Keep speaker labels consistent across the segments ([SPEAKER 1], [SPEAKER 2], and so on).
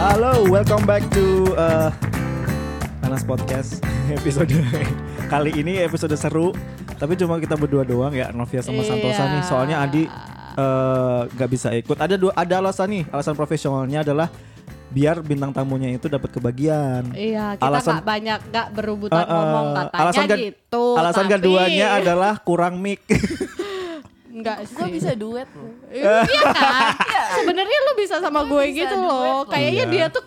[SPEAKER 1] Halo, welcome back to uh, Nanas Podcast episode kali ini episode seru. Tapi cuma kita berdua doang ya, Novia sama Santosa
[SPEAKER 2] Iya.
[SPEAKER 1] nih. Soalnya Adi eh, nggak bisa ikut. Ada dua, ada alasan nih. Alasan profesionalnya adalah biar bintang tamunya itu dapat kebagian.
[SPEAKER 2] Iya, kita
[SPEAKER 1] Alasan-
[SPEAKER 2] nggak banyak nggak berebutan
[SPEAKER 1] Eh, eh,
[SPEAKER 2] ngomong katanya
[SPEAKER 1] alasan ke-
[SPEAKER 2] gitu.
[SPEAKER 1] Alasan
[SPEAKER 2] tapi
[SPEAKER 1] keduanya adalah kurang mic.
[SPEAKER 2] nggak sih.
[SPEAKER 3] Gue bisa duet loh.
[SPEAKER 2] iya kan? Sebenarnya lu bisa sama gue
[SPEAKER 3] bisa
[SPEAKER 2] gitu
[SPEAKER 3] duet
[SPEAKER 2] loh.
[SPEAKER 3] loh.
[SPEAKER 2] Kayaknya
[SPEAKER 1] Iya.
[SPEAKER 2] dia tuh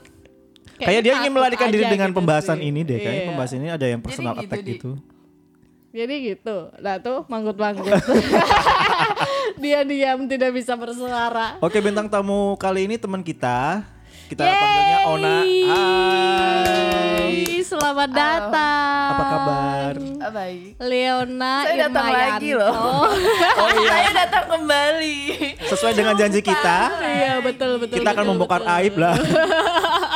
[SPEAKER 1] Kayak dia ingin
[SPEAKER 2] takut
[SPEAKER 1] melarikan diri
[SPEAKER 2] aja
[SPEAKER 1] dengan
[SPEAKER 2] gitu
[SPEAKER 1] pembahasan
[SPEAKER 2] sih.
[SPEAKER 1] ini deh. Kayaknya
[SPEAKER 2] Iya.
[SPEAKER 1] pembahasan ini ada yang personal
[SPEAKER 3] gitu,
[SPEAKER 1] attack
[SPEAKER 3] Di.
[SPEAKER 1] gitu.
[SPEAKER 2] Jadi gitu. Lah tuh manggut-manggut. dia diam tidak bisa bersuara.
[SPEAKER 1] Oke, bintang tamu kali ini teman kita. Kita
[SPEAKER 2] Yeay.
[SPEAKER 1] panggilnya Ona. Hai.
[SPEAKER 2] Selamat datang.
[SPEAKER 1] Apa kabar?
[SPEAKER 3] Ah, baik.
[SPEAKER 2] Leona
[SPEAKER 3] Saya datang lagi
[SPEAKER 2] Irmayanto.
[SPEAKER 3] loh. Saya datang kembali.
[SPEAKER 1] Sesuai dengan janji kita,
[SPEAKER 2] Iya betul betul.
[SPEAKER 1] kita akan
[SPEAKER 2] betul,
[SPEAKER 1] membongkar
[SPEAKER 2] betul.
[SPEAKER 1] aib lah.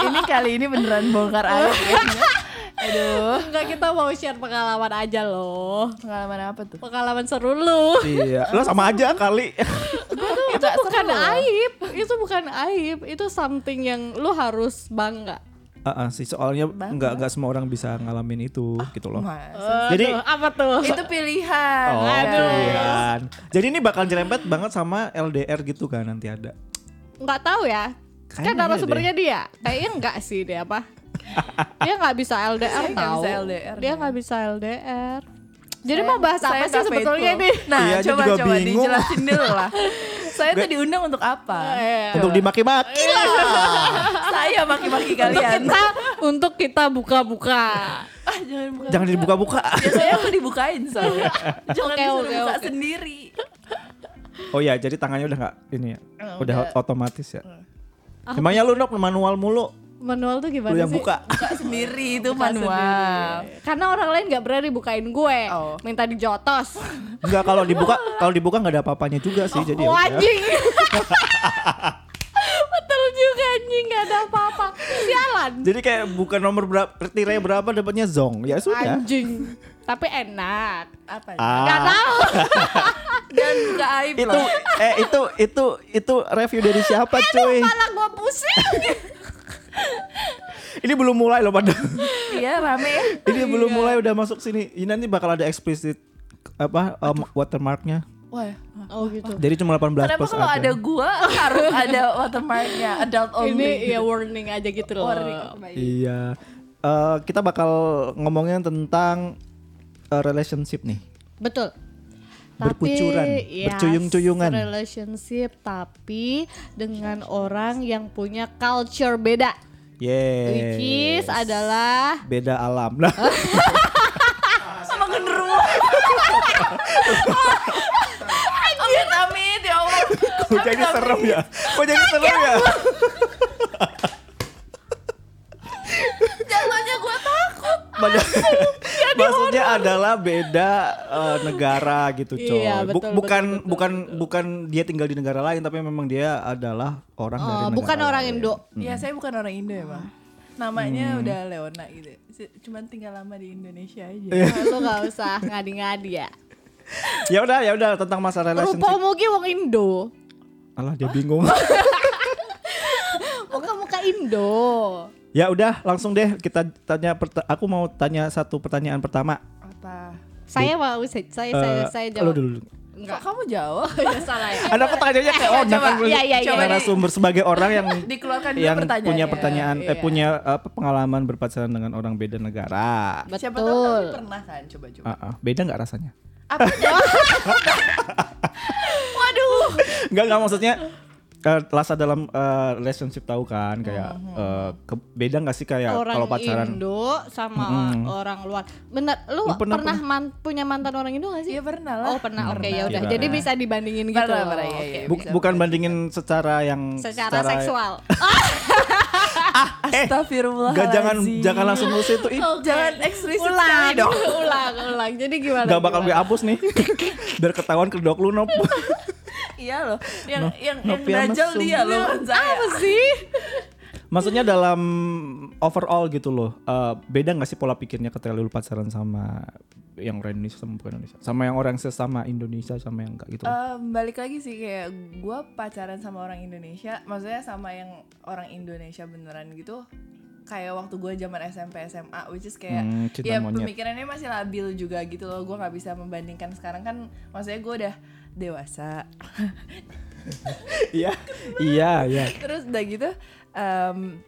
[SPEAKER 3] ini kali ini beneran bongkar aib ya. Aduh.
[SPEAKER 2] Enggak kita mau share pengalaman aja loh.
[SPEAKER 3] Pengalaman apa tuh?
[SPEAKER 2] Pengalaman seru lu.
[SPEAKER 1] iya, lo sama aja kali.
[SPEAKER 3] Itu
[SPEAKER 2] Bukan aib, itu bukan aib, itu something yang lu harus bangga.
[SPEAKER 1] Ah, ah, sih soalnya nggak nggak semua orang bisa ngalamin itu gitu loh. Jadi-
[SPEAKER 2] Ah, Aduh, apa tuh?
[SPEAKER 3] Itu pilihan.
[SPEAKER 1] Oh,
[SPEAKER 2] Aduh.
[SPEAKER 1] pilihan. Jadi ini bakal jerempet banget sama LDR gitu kan nanti ada.
[SPEAKER 2] Nggak tahu ya.
[SPEAKER 1] Kayaknya
[SPEAKER 2] Kan narasumbernya dia. Kayaknya enggak sih dia apa? dia nggak bisa LDR
[SPEAKER 3] Saya nggak
[SPEAKER 2] tahu.
[SPEAKER 3] bisa LDR,
[SPEAKER 2] Dia
[SPEAKER 3] ya.
[SPEAKER 2] nggak bisa LDR. Jadi mau bahas apa sih sebetulnya
[SPEAKER 3] nih?
[SPEAKER 2] nih?
[SPEAKER 3] Nah,
[SPEAKER 1] Iya, dia
[SPEAKER 3] coba
[SPEAKER 1] juga
[SPEAKER 3] coba
[SPEAKER 1] bingung.
[SPEAKER 3] dijelasin dulu lah. Oh, iya, Saya tuh diundang untuk apa?
[SPEAKER 2] Eh,
[SPEAKER 1] Untuk dimaki-maki lah.
[SPEAKER 2] Iya.
[SPEAKER 3] Saya maki-maki
[SPEAKER 2] untuk
[SPEAKER 3] kalian.
[SPEAKER 2] kita untuk kita buka-buka.
[SPEAKER 3] Ah, jangan buka.
[SPEAKER 1] Jangan dibuka-buka.
[SPEAKER 2] Iya.
[SPEAKER 3] Biasanya aku dibukain soalnya. Jangan
[SPEAKER 2] Oke,
[SPEAKER 3] disuruh
[SPEAKER 2] oke,
[SPEAKER 3] buka
[SPEAKER 2] oke.
[SPEAKER 3] sendiri.
[SPEAKER 1] Oh ya, jadi tangannya udah nggak ini ya.
[SPEAKER 3] Eh,
[SPEAKER 1] Udah
[SPEAKER 3] udah. Hmm.
[SPEAKER 1] otomatis ya. Emangnya lu nok manual mulu,
[SPEAKER 2] Manual tuh
[SPEAKER 1] lu
[SPEAKER 2] gimana
[SPEAKER 1] yang
[SPEAKER 2] sih?
[SPEAKER 1] buka.
[SPEAKER 3] Buka sendiri itu manual.
[SPEAKER 2] Karena orang lain nggak berani bukain gue,
[SPEAKER 3] Oh.
[SPEAKER 2] minta dijotos.
[SPEAKER 1] Enggak kalau dibuka, kalau dibuka nggak ada apa-apanya juga sih. Jadi ya
[SPEAKER 2] Oh,
[SPEAKER 1] udah.
[SPEAKER 2] anjing. Betul juga anjing nggak ada apa-apa. Sialan.
[SPEAKER 1] Jadi kayak bukan nomor berapa, tirainya berapa dapatnya zong. Ya sudah.
[SPEAKER 2] Anjing. Tapi enak. Gak
[SPEAKER 3] Apa?
[SPEAKER 1] Ah,
[SPEAKER 2] tahu.
[SPEAKER 3] Dan buka aib
[SPEAKER 1] itu
[SPEAKER 3] loh.
[SPEAKER 1] eh itu itu itu review dari siapa cuy?
[SPEAKER 2] Malah gue pusing.
[SPEAKER 1] Ini belum mulai loh pada.
[SPEAKER 3] Iya rame ya.
[SPEAKER 1] Ini belum mulai udah masuk sini. Ini nanti bakal ada explicit apa um, watermarknya.
[SPEAKER 3] Wah.
[SPEAKER 2] Oh gitu.
[SPEAKER 1] Jadi cuma 18
[SPEAKER 3] Kenapa
[SPEAKER 1] plus
[SPEAKER 3] kalau ada gua harus ada watermarknya adult
[SPEAKER 2] Ini
[SPEAKER 3] only?
[SPEAKER 2] ya warning aja gitu loh.
[SPEAKER 3] Warning. Baik.
[SPEAKER 1] Iya. Eh, kita bakal ngomongin tentang eh, relationship nih.
[SPEAKER 2] Betul.
[SPEAKER 1] Berkucuran,
[SPEAKER 2] ya,
[SPEAKER 1] bercuyung-cuyungan.
[SPEAKER 2] Relationship tapi dengan orang yang punya culture beda. Which
[SPEAKER 1] Yes.
[SPEAKER 2] is adalah
[SPEAKER 1] Beda alam. Nah,
[SPEAKER 3] Sama genderuwo. Amit amit ya Allah.
[SPEAKER 1] kok jadi serem ya? Kok jadi serem ya?
[SPEAKER 3] Jatuhnya gua takut.
[SPEAKER 1] Pada- maksudnya adalah beda eh, negara gitu coy.
[SPEAKER 2] Iya,
[SPEAKER 1] Bu-
[SPEAKER 2] betul,
[SPEAKER 1] bukan
[SPEAKER 2] betul, betul,
[SPEAKER 1] bukan bukan dia tinggal di negara lain tapi memang dia adalah orang dari
[SPEAKER 2] eh,
[SPEAKER 1] negara
[SPEAKER 2] bukan orang
[SPEAKER 1] lain.
[SPEAKER 2] Indo.
[SPEAKER 3] Ya saya bukan orang Indo ya bang. Namanya udah Leona gitu. Se- Cuman tinggal lama di Indonesia aja.
[SPEAKER 2] Nah, lu gak usah ngadi-ngadi ya.
[SPEAKER 1] Ya udah ya udah tentang masalah
[SPEAKER 2] Rupa
[SPEAKER 1] relationship.
[SPEAKER 2] mungkin wong Indo.
[SPEAKER 1] Alah dia bingung.
[SPEAKER 2] Muka Oh, muka Indo.
[SPEAKER 1] ya udah langsung deh kita tanya perta- aku mau tanya satu pertanyaan pertama.
[SPEAKER 3] Apa?
[SPEAKER 2] Saya mau saya saya saya,
[SPEAKER 1] Eh,
[SPEAKER 2] saya
[SPEAKER 1] lu
[SPEAKER 2] jawab.
[SPEAKER 1] dulu.
[SPEAKER 3] Kok kamu jawab?
[SPEAKER 2] Ya salah ya.
[SPEAKER 1] Ada pertanyaannya kayak oh
[SPEAKER 3] coba.
[SPEAKER 1] jangan
[SPEAKER 2] Iya, iya, iya.
[SPEAKER 1] narasumber sebagai orang yang
[SPEAKER 3] Dikeluarkan ya. dulu
[SPEAKER 1] yang
[SPEAKER 3] pertanyaannya.
[SPEAKER 1] punya pertanyaan eh
[SPEAKER 2] Iya.
[SPEAKER 1] punya apa, pengalaman berpacaran dengan orang beda negara.
[SPEAKER 3] Siapa tahu
[SPEAKER 2] Betul.
[SPEAKER 3] kamu pernah kan coba-coba.
[SPEAKER 1] Ah, ah. Beda nggak rasanya?
[SPEAKER 3] Apa? Waduh.
[SPEAKER 1] Enggak enggak maksudnya eh, rasa dalam eh, relationship tahu kan kayak eh, ke- beda nggak sih kayak
[SPEAKER 2] Hmm, orang
[SPEAKER 1] Ya, kalau pacaran
[SPEAKER 2] Indo sama orang luar. Bener, lu
[SPEAKER 1] Lu pernah-
[SPEAKER 2] pernah, man- punya mantan orang Indo gak sih?
[SPEAKER 3] Iya pernah lah.
[SPEAKER 2] Oh pernah, oke ya udah.
[SPEAKER 1] Pernah.
[SPEAKER 2] Jadi bisa dibandingin gitu.
[SPEAKER 3] Pernah,
[SPEAKER 2] loh.
[SPEAKER 3] pernah, iya,
[SPEAKER 2] Oke.
[SPEAKER 3] iya.
[SPEAKER 1] Bu-
[SPEAKER 3] bisa,
[SPEAKER 1] bukan bandingin secara yang
[SPEAKER 2] Secara seksual.
[SPEAKER 1] eh
[SPEAKER 3] Astagfirullah.
[SPEAKER 1] nggak jangan jangan langsung ke situ
[SPEAKER 2] Oh,
[SPEAKER 1] itu
[SPEAKER 3] jangan eksplisit
[SPEAKER 2] ulang,
[SPEAKER 3] sekali dong.
[SPEAKER 2] ulang, ulang. Jadi gimana?
[SPEAKER 1] nggak bakal gue
[SPEAKER 2] gimana?
[SPEAKER 1] hapus nih biar ketahuan kedok lu nop
[SPEAKER 3] Iya loh. Yang yang yang
[SPEAKER 1] Novia
[SPEAKER 3] dajal
[SPEAKER 1] mesum.
[SPEAKER 3] dia loh bukan saya.
[SPEAKER 2] Apa sih?
[SPEAKER 1] maksudnya dalam overall gitu loh eh, beda nggak sih pola pikirnya ketika lu pacaran sama yang orang Indonesia sama bukan Indonesia sama yang orang sesama Indonesia sama yang enggak gitu
[SPEAKER 3] Eh, balik lagi sih kayak gue pacaran sama orang Indonesia, maksudnya sama yang orang Indonesia beneran gitu. Kayak waktu gue zaman SMP SMA, which is kayak
[SPEAKER 1] Hmm, cinta
[SPEAKER 3] ya
[SPEAKER 1] monyet.
[SPEAKER 3] pemikirannya masih labil juga gitu loh. Gue nggak bisa membandingkan sekarang kan, maksudnya gue udah dewasa.
[SPEAKER 1] iya iya iya
[SPEAKER 3] Terus udah gitu. em,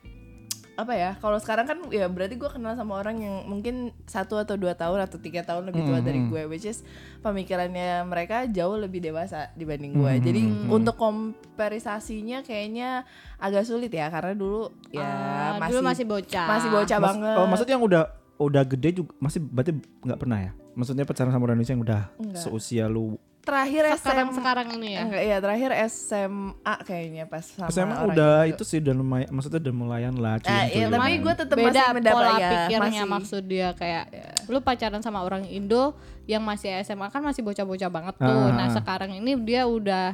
[SPEAKER 3] apa ya kalau sekarang kan ya berarti gue kenal sama orang yang mungkin satu atau dua tahun atau tiga tahun lebih tua dari
[SPEAKER 1] Mm-hmm.
[SPEAKER 3] gue which is pemikirannya mereka jauh lebih dewasa dibanding gue
[SPEAKER 1] Mm-hmm.
[SPEAKER 3] jadi untuk komperisasinya kayaknya agak sulit ya karena dulu ya
[SPEAKER 2] Ah,
[SPEAKER 3] masih
[SPEAKER 2] dulu masih bocah.
[SPEAKER 3] masih bocah
[SPEAKER 1] Mas-
[SPEAKER 3] Iya banget
[SPEAKER 1] oh, maksudnya yang udah udah gede juga masih berarti nggak pernah ya maksudnya pacaran sama orang Indonesia yang udah seusia lu
[SPEAKER 3] terakhir
[SPEAKER 2] sekarang
[SPEAKER 3] SM
[SPEAKER 2] sekarang ini ya
[SPEAKER 3] enggak ya terakhir SMA kayaknya pas sama
[SPEAKER 1] SMA
[SPEAKER 3] orang
[SPEAKER 1] udah
[SPEAKER 3] Indo.
[SPEAKER 1] itu sih udah lumayan maksudnya udah melayan lah
[SPEAKER 3] Ah, iya,
[SPEAKER 1] cium-ciuman.
[SPEAKER 3] tapi gue tetap
[SPEAKER 2] beda
[SPEAKER 3] masih mendapat
[SPEAKER 2] pola
[SPEAKER 3] ya,
[SPEAKER 2] pikirnya
[SPEAKER 3] masih.
[SPEAKER 2] maksud dia kayak Iya. lu pacaran sama orang Indo yang masih SMA kan masih bocah-bocah banget tuh
[SPEAKER 1] Ah.
[SPEAKER 2] nah sekarang ini dia udah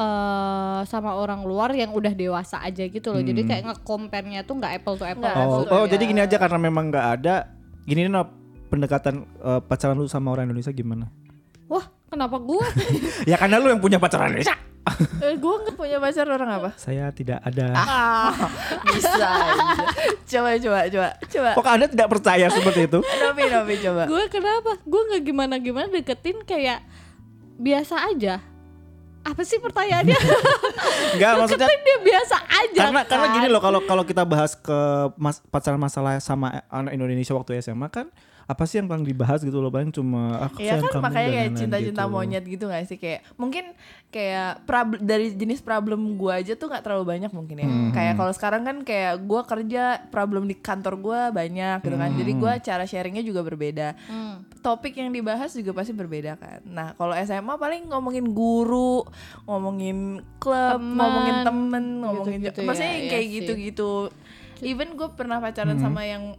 [SPEAKER 2] eh sama orang luar yang udah dewasa aja gitu loh jadi kayak ngekompernya tuh nggak apple to apple
[SPEAKER 3] Nggak.
[SPEAKER 1] Hmm. oh,
[SPEAKER 3] Maksudnya
[SPEAKER 1] oh
[SPEAKER 3] ya.
[SPEAKER 1] jadi gini aja karena memang nggak ada gini nih Nop, pendekatan eh, pacaran lu sama orang Indonesia gimana
[SPEAKER 2] wah kenapa gua
[SPEAKER 1] ya karena lu yang punya pacaran ya. Indonesia
[SPEAKER 3] eh, gue nggak punya pacar orang apa
[SPEAKER 1] saya tidak ada
[SPEAKER 3] bisa aja. coba coba coba coba
[SPEAKER 1] kok anda tidak percaya seperti itu
[SPEAKER 3] Novi Novi coba
[SPEAKER 2] gue kenapa gue nggak gimana gimana deketin kayak biasa aja apa sih pertanyaannya
[SPEAKER 1] nggak maksudnya
[SPEAKER 2] deketin dia biasa aja
[SPEAKER 1] karena karena
[SPEAKER 2] kan?
[SPEAKER 1] gini loh kalau kalau kita bahas ke mas, pacaran masalah sama anak Indonesia waktu SMA kan apa sih yang paling dibahas gitu loh paling cuma ah,
[SPEAKER 3] Iya
[SPEAKER 1] sayang
[SPEAKER 3] kan
[SPEAKER 1] kamu
[SPEAKER 3] makanya
[SPEAKER 1] dan
[SPEAKER 3] kayak
[SPEAKER 1] lain-lain gitu.
[SPEAKER 3] cinta-cinta
[SPEAKER 2] Iya,
[SPEAKER 3] monyet gitu gak sih kayak mungkin kayak prob- dari jenis problem gue aja tuh nggak terlalu banyak mungkin ya kayak kalau sekarang kan kayak gue kerja problem di kantor gue banyak gitu kan jadi gue cara sharingnya juga berbeda
[SPEAKER 2] Hmm.
[SPEAKER 3] topik yang dibahas juga pasti berbeda kan nah kalau SMA paling ngomongin guru ngomongin klub
[SPEAKER 2] Teman,
[SPEAKER 3] ngomongin temen ngomongin
[SPEAKER 2] gitu-gitu ya,
[SPEAKER 3] maksudnya yang
[SPEAKER 2] iya
[SPEAKER 3] kayak
[SPEAKER 2] sih.
[SPEAKER 3] gitu-gitu even gue pernah pacaran sama yang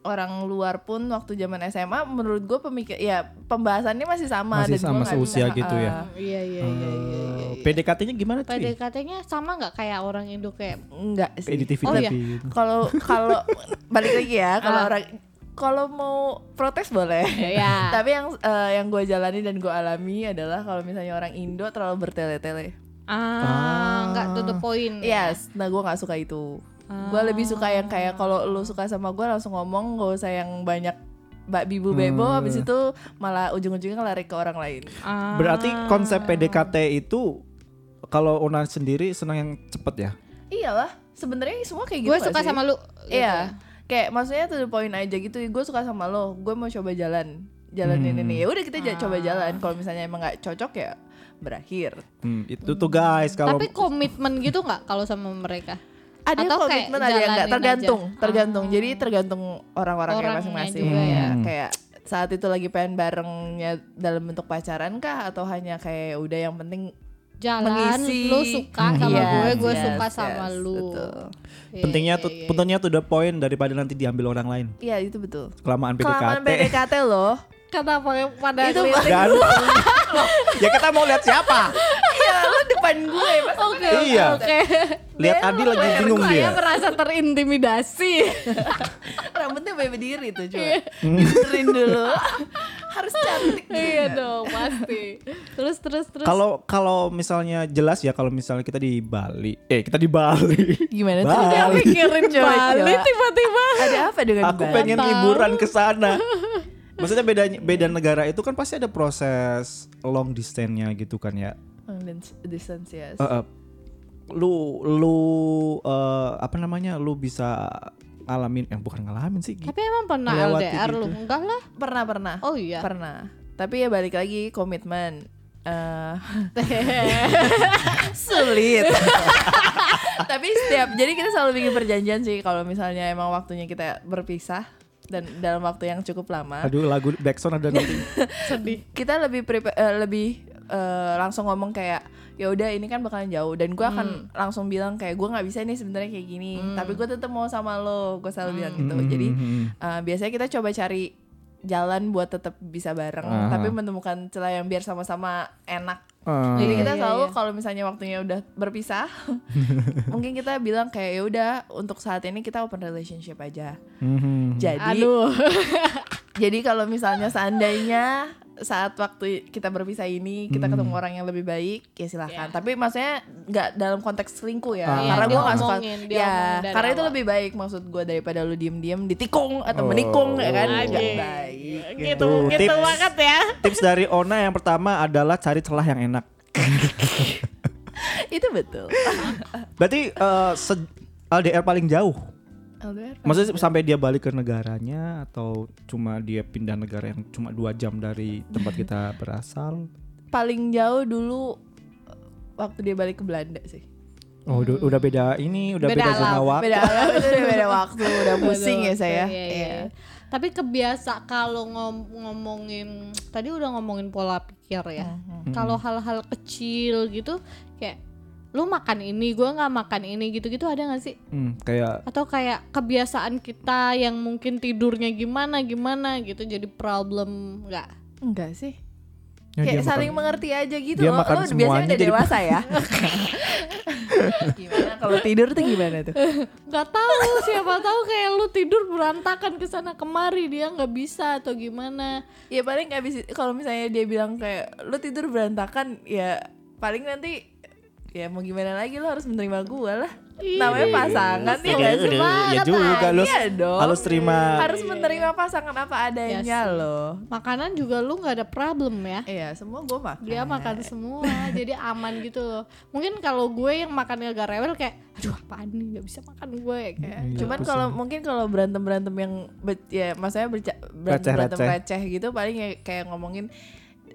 [SPEAKER 3] orang luar pun waktu zaman SMA menurut gue pemikir ya pembahasannya masih sama
[SPEAKER 1] Masih
[SPEAKER 3] gua
[SPEAKER 1] sama
[SPEAKER 3] nggak
[SPEAKER 1] seusia
[SPEAKER 3] bisa-
[SPEAKER 1] gitu ya.
[SPEAKER 3] ah,
[SPEAKER 2] Hmm, iya iya iya iya, iya,
[SPEAKER 1] Eh,
[SPEAKER 2] iya.
[SPEAKER 1] PDKT-nya gimana cuy?
[SPEAKER 2] PDKT-nya sama nggak kayak orang Indo kayak
[SPEAKER 3] enggak sih
[SPEAKER 1] Di TV
[SPEAKER 2] Oh,
[SPEAKER 1] tapi
[SPEAKER 2] iya.
[SPEAKER 1] gitu.
[SPEAKER 3] kalau kalau balik lagi ya kalau
[SPEAKER 2] Ah.
[SPEAKER 3] orang kalau mau protes boleh
[SPEAKER 2] Iya.
[SPEAKER 3] tapi yang eh, yang gue jalani dan gue alami adalah kalau misalnya orang Indo terlalu bertele-tele
[SPEAKER 2] ah nggak to the point.
[SPEAKER 1] Iya.
[SPEAKER 3] yes nah gue nggak suka itu
[SPEAKER 2] Ah.
[SPEAKER 3] gue lebih suka yang kayak kalau lu suka sama gue langsung ngomong gak usah yang banyak mbak bibu bebo
[SPEAKER 1] Hmm.
[SPEAKER 3] habis itu malah ujung-ujungnya lari ke orang lain
[SPEAKER 2] Ah,
[SPEAKER 1] Berarti konsep PDKT itu kalau Ona sendiri senang yang cepet ya?
[SPEAKER 3] iyalah sebenarnya semua kayak gitu
[SPEAKER 2] gue
[SPEAKER 3] nggak
[SPEAKER 2] suka
[SPEAKER 3] sih?
[SPEAKER 2] sama lu. gitu.
[SPEAKER 3] Iya, kayak maksudnya tuh poin aja gitu. Gue suka sama lo, gue mau coba jalan, jalan
[SPEAKER 2] Hmm.
[SPEAKER 3] ini nih. Ya udah kita
[SPEAKER 2] Ah.
[SPEAKER 3] ja- coba jalan. Kalau misalnya emang nggak cocok ya berakhir.
[SPEAKER 1] Hmm, itu tuh guys kalau
[SPEAKER 2] Tapi komitmen gitu nggak kalau sama mereka?
[SPEAKER 3] Ada yang
[SPEAKER 2] Atau kayak
[SPEAKER 3] komitmen, ada yang nggak.
[SPEAKER 2] jalanin
[SPEAKER 3] Tergantung,
[SPEAKER 2] aja? Ah.
[SPEAKER 3] tergantung. Jadi tergantung orang-orangnya
[SPEAKER 2] Orangnya
[SPEAKER 3] masing-masing.
[SPEAKER 2] juga
[SPEAKER 3] Ya,
[SPEAKER 2] ya.
[SPEAKER 3] Kayak saat itu lagi pengen barengnya dalam bentuk pacaran kah atau hanya kayak udah yang penting
[SPEAKER 2] jalan
[SPEAKER 3] Mengisi.
[SPEAKER 2] lu suka sama
[SPEAKER 1] Iya.
[SPEAKER 3] Yes,
[SPEAKER 2] gue, gue
[SPEAKER 3] yes,
[SPEAKER 2] suka
[SPEAKER 3] yes,
[SPEAKER 2] sama lu.
[SPEAKER 3] betul.
[SPEAKER 2] Iya,
[SPEAKER 1] pentingnya
[SPEAKER 2] iya,
[SPEAKER 1] tuh
[SPEAKER 2] iya.
[SPEAKER 1] pentingnya tuh the point daripada nanti diambil orang lain.
[SPEAKER 3] Iya itu betul.
[SPEAKER 1] Kelamaan PDKT.
[SPEAKER 3] Kelamaan PDKT loh.
[SPEAKER 2] Kenapa yang pada
[SPEAKER 3] Itu
[SPEAKER 2] ngeliat-
[SPEAKER 1] Dan Loh, ya kita mau lihat siapa?
[SPEAKER 3] Iya lu depan gue. masa
[SPEAKER 2] Oke,
[SPEAKER 3] gue-
[SPEAKER 1] Iya.
[SPEAKER 2] oke.
[SPEAKER 1] Lihat Adi lagi bingung
[SPEAKER 2] Saya
[SPEAKER 1] dia.
[SPEAKER 2] merasa terintimidasi.
[SPEAKER 3] Rambutnya bayi berdiri tuh coba Dibenerin dulu Harus cantik
[SPEAKER 2] iya dong, pasti. Terus terus terus.
[SPEAKER 1] Kalau kalau misalnya jelas ya kalau misalnya kita di Bali, eh kita di Bali.
[SPEAKER 3] Gimana tuh?
[SPEAKER 1] Bali.
[SPEAKER 3] Dia mikirin ya? coba,
[SPEAKER 2] Bali
[SPEAKER 1] Iya.
[SPEAKER 3] coba.
[SPEAKER 2] tiba-tiba.
[SPEAKER 1] Gitu.
[SPEAKER 3] Ada apa dengan
[SPEAKER 1] Aku
[SPEAKER 3] Bali?
[SPEAKER 1] pengen
[SPEAKER 2] Tahu.
[SPEAKER 1] liburan ke sana. Maksudnya beda beda negara itu kan pasti ada proses long distance-nya gitu kan ya.
[SPEAKER 3] Long dis- distance
[SPEAKER 1] Eh,
[SPEAKER 3] yes.
[SPEAKER 1] eh, lu lu eh, apa namanya? Lu bisa ngalamin eh bukan ngalamin sih.
[SPEAKER 2] Tapi emang pernah
[SPEAKER 1] Melewati
[SPEAKER 2] LDR
[SPEAKER 1] gitu.
[SPEAKER 2] lu? Enggak lah.
[SPEAKER 3] Pernah pernah
[SPEAKER 2] Oh iya.
[SPEAKER 3] Pernah Tapi ya balik lagi komitmen Eh, sulit tapi setiap jadi kita selalu bikin perjanjian sih kalau misalnya emang waktunya kita berpisah dan dalam waktu yang cukup lama
[SPEAKER 1] Aduh lagu Backsound ada nanti.
[SPEAKER 3] Gitu,
[SPEAKER 2] Sedih.
[SPEAKER 3] kita lebih prepa- eh, lebih eh, langsung ngomong kayak ya udah ini kan bakalan jauh dan gue
[SPEAKER 2] Hmm.
[SPEAKER 3] akan langsung bilang kayak gue nggak bisa nih sebenarnya kayak
[SPEAKER 1] Hmm. Mm-hmm.
[SPEAKER 3] gini tapi gue tetap mau sama lo gue selalu bilang gitu jadi eh, biasanya kita coba cari jalan buat tetap bisa bareng
[SPEAKER 1] Aha.
[SPEAKER 3] tapi menemukan celah yang biar sama-sama enak
[SPEAKER 1] Eh,
[SPEAKER 3] jadi
[SPEAKER 2] Iya,
[SPEAKER 3] kita
[SPEAKER 2] iya,
[SPEAKER 3] selalu
[SPEAKER 2] iya.
[SPEAKER 3] kalau misalnya waktunya udah berpisah mungkin kita bilang kayak ya udah untuk saat ini kita open relationship aja
[SPEAKER 1] mhm.
[SPEAKER 3] jadi
[SPEAKER 2] Aduh.
[SPEAKER 3] jadi kalau misalnya seandainya saat waktu kita berpisah ini kita
[SPEAKER 1] Hmm.
[SPEAKER 3] ketemu orang yang lebih baik ya
[SPEAKER 2] Iya.
[SPEAKER 3] silahkan. Tapi maksudnya nggak dalam konteks selingkuh ya.
[SPEAKER 1] Ah. Iya,
[SPEAKER 3] karena gue nggak suka.
[SPEAKER 2] diomongin,
[SPEAKER 3] Ya
[SPEAKER 2] diomongin dari
[SPEAKER 3] karena itu
[SPEAKER 2] awal.
[SPEAKER 3] lebih baik maksud gue daripada lu diem-diem ditikung atau
[SPEAKER 1] Oh.
[SPEAKER 3] menikung ya kan nggak
[SPEAKER 2] Anjing.
[SPEAKER 3] baik.
[SPEAKER 2] Gitu,
[SPEAKER 1] Tuh,
[SPEAKER 2] gitu
[SPEAKER 1] tips.
[SPEAKER 2] banget ya.
[SPEAKER 1] Tips dari Ona yang pertama adalah cari celah yang enak.
[SPEAKER 3] Itu betul.
[SPEAKER 1] Berarti eh, se- LDR paling jauh.
[SPEAKER 3] LDR.
[SPEAKER 1] Maksudnya sampai dia balik ke negaranya atau cuma dia pindah negara yang cuma dua jam dari tempat kita berasal?
[SPEAKER 3] Paling jauh dulu waktu dia balik ke Belanda sih.
[SPEAKER 1] Oh, udah- udah beda ini, udah beda,
[SPEAKER 2] Beda
[SPEAKER 1] zona
[SPEAKER 2] alam,
[SPEAKER 1] waktu.
[SPEAKER 3] Beda alam itu udah beda waktu, udah pusing ya saya.
[SPEAKER 2] Iya, iya,
[SPEAKER 3] Iya.
[SPEAKER 2] iya. Tapi kebiasa kalau ngom- ngomongin tadi udah ngomongin pola pikir ya.
[SPEAKER 3] Hmm,
[SPEAKER 2] Kalau hal-hal kecil gitu kayak lu makan ini, gua nggak makan ini gitu-gitu ada nggak sih?
[SPEAKER 1] Hmm, kayak
[SPEAKER 2] Atau kayak kebiasaan kita yang mungkin tidurnya gimana gimana gitu jadi problem nggak?
[SPEAKER 3] Enggak sih.
[SPEAKER 1] ya dia
[SPEAKER 3] kayak
[SPEAKER 1] makan-
[SPEAKER 3] saling mengerti aja gitu
[SPEAKER 1] dia
[SPEAKER 3] loh.
[SPEAKER 1] makan
[SPEAKER 3] Lo biasanya
[SPEAKER 1] semuanya
[SPEAKER 3] udah
[SPEAKER 1] jadi-
[SPEAKER 3] dewasa ya. gimana kalau tidur tuh gimana tuh?
[SPEAKER 2] nggak tahu siapa tahu kayak lu tidur berantakan ke sana kemari dia nggak bisa atau gimana
[SPEAKER 3] Ya paling abis kalau misalnya dia bilang kayak lu tidur berantakan ya paling nanti ya mau gimana lagi lo harus menerima gua lah. Namanya pasangan ya
[SPEAKER 1] Aduh,
[SPEAKER 3] gak sih,
[SPEAKER 1] aduh,
[SPEAKER 3] Bang?
[SPEAKER 1] ya juga lu
[SPEAKER 3] Iya dong.
[SPEAKER 1] harus terima
[SPEAKER 3] Harus menerima pasangan apa adanya
[SPEAKER 2] Yes.
[SPEAKER 3] loh.
[SPEAKER 2] makanan juga lu nggak ada problem ya
[SPEAKER 3] Iya, semua gua makan.
[SPEAKER 2] dia makan semua jadi aman gitu loh mungkin kalau gue yang makannya agak rewel kayak aduh apaan nih nggak bisa makan gue kayak
[SPEAKER 1] Iya,
[SPEAKER 3] Cuman
[SPEAKER 1] pusing.
[SPEAKER 3] kalau mungkin kalau berantem berantem yang be- ya maksudnya berca- berantem berantem
[SPEAKER 1] Receh-receh.
[SPEAKER 3] receh gitu paling ya kayak ngomongin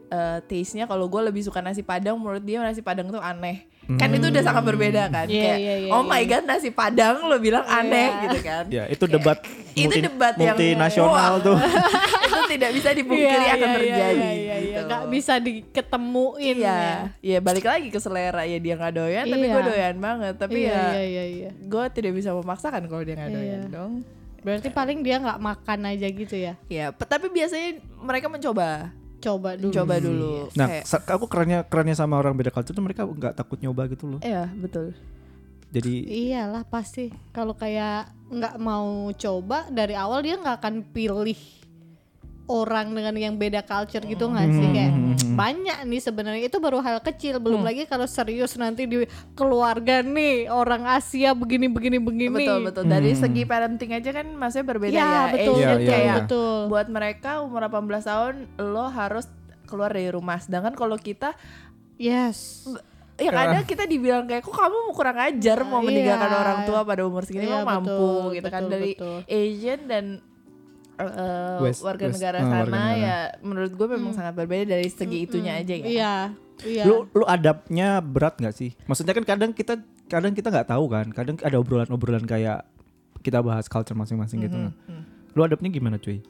[SPEAKER 3] eh, taste-nya kalau gue lebih suka nasi padang menurut dia nasi padang tuh aneh kan itu
[SPEAKER 1] Hmm.
[SPEAKER 3] udah sangat berbeda kan
[SPEAKER 2] Iya,
[SPEAKER 3] kayak
[SPEAKER 2] iya, iya,
[SPEAKER 3] oh
[SPEAKER 2] iya.
[SPEAKER 3] my god nasi padang lo bilang aneh gitu kan
[SPEAKER 1] ya itu debat
[SPEAKER 3] Iya, itu
[SPEAKER 1] multi-
[SPEAKER 3] debat yang-
[SPEAKER 1] multinasional
[SPEAKER 3] Wah.
[SPEAKER 1] tuh.
[SPEAKER 3] itu tidak bisa
[SPEAKER 2] Iya,
[SPEAKER 3] dipungkiri akan terjadi gitu.
[SPEAKER 2] nggak bisa diketemuin
[SPEAKER 3] Iya,
[SPEAKER 2] ya
[SPEAKER 3] ya balik lagi ke selera ya dia nggak doyan tapi
[SPEAKER 2] Iya.
[SPEAKER 3] gue doyan banget tapi
[SPEAKER 2] iya,
[SPEAKER 3] ya
[SPEAKER 2] iya iya iya
[SPEAKER 3] gue tidak bisa memaksakan kalau dia nggak
[SPEAKER 2] Iya.
[SPEAKER 3] doyan dong
[SPEAKER 2] berarti paling dia nggak makan aja gitu ya
[SPEAKER 3] ya pe- tapi biasanya mereka mencoba
[SPEAKER 2] coba dulu
[SPEAKER 3] coba
[SPEAKER 2] iya
[SPEAKER 3] dulu.
[SPEAKER 1] Nah,
[SPEAKER 3] Kayak-
[SPEAKER 1] sa- aku kerennya kerennya sama orang beda culture tuh mereka nggak takut nyoba gitu loh.
[SPEAKER 3] iya betul.
[SPEAKER 1] Jadi
[SPEAKER 2] iyalah pasti kalau kayak nggak mau coba dari awal dia nggak akan pilih orang dengan yang beda culture gitu nggak sih kayak
[SPEAKER 1] Hmm.
[SPEAKER 2] banyak nih sebenarnya itu baru hal kecil belum lagi kalau serius nanti di keluarga nih orang Asia begini begini begini
[SPEAKER 3] Betul betul. Dari segi parenting aja kan maksudnya berbeda ya.
[SPEAKER 2] ya, betul
[SPEAKER 1] Hmm. Iya,
[SPEAKER 3] Asian
[SPEAKER 2] betul
[SPEAKER 1] iya,
[SPEAKER 3] kayak
[SPEAKER 1] iya.
[SPEAKER 2] betul
[SPEAKER 3] buat mereka umur 18 tahun lo harus keluar dari rumah. Sedangkan kalau kita
[SPEAKER 2] yes
[SPEAKER 1] Iya.
[SPEAKER 3] yang ada kita dibilang kayak kok kamu mau kurang ajar mau
[SPEAKER 2] Iya.
[SPEAKER 3] meninggalkan orang tua pada umur segini
[SPEAKER 2] Iya,
[SPEAKER 3] mau mampu
[SPEAKER 2] betul,
[SPEAKER 3] gitu kan
[SPEAKER 2] betul,
[SPEAKER 3] dari
[SPEAKER 2] betul.
[SPEAKER 3] Asian dan eh,
[SPEAKER 1] West-
[SPEAKER 3] warga
[SPEAKER 1] West-
[SPEAKER 3] negara
[SPEAKER 1] eh, warga
[SPEAKER 3] sana
[SPEAKER 1] negara.
[SPEAKER 3] ya menurut gue memang sangat berbeda dari segi itunya aja ya.
[SPEAKER 2] Hmm. iya iya
[SPEAKER 1] lu lu adabnya berat nggak sih? Maksudnya kan kadang kita kadang kita nggak tahu kan. Kadang ada obrolan-obrolan kayak kita bahas culture masing-masing gitu.
[SPEAKER 3] Hmm,
[SPEAKER 1] Nah. Lu adabnya gimana cuy?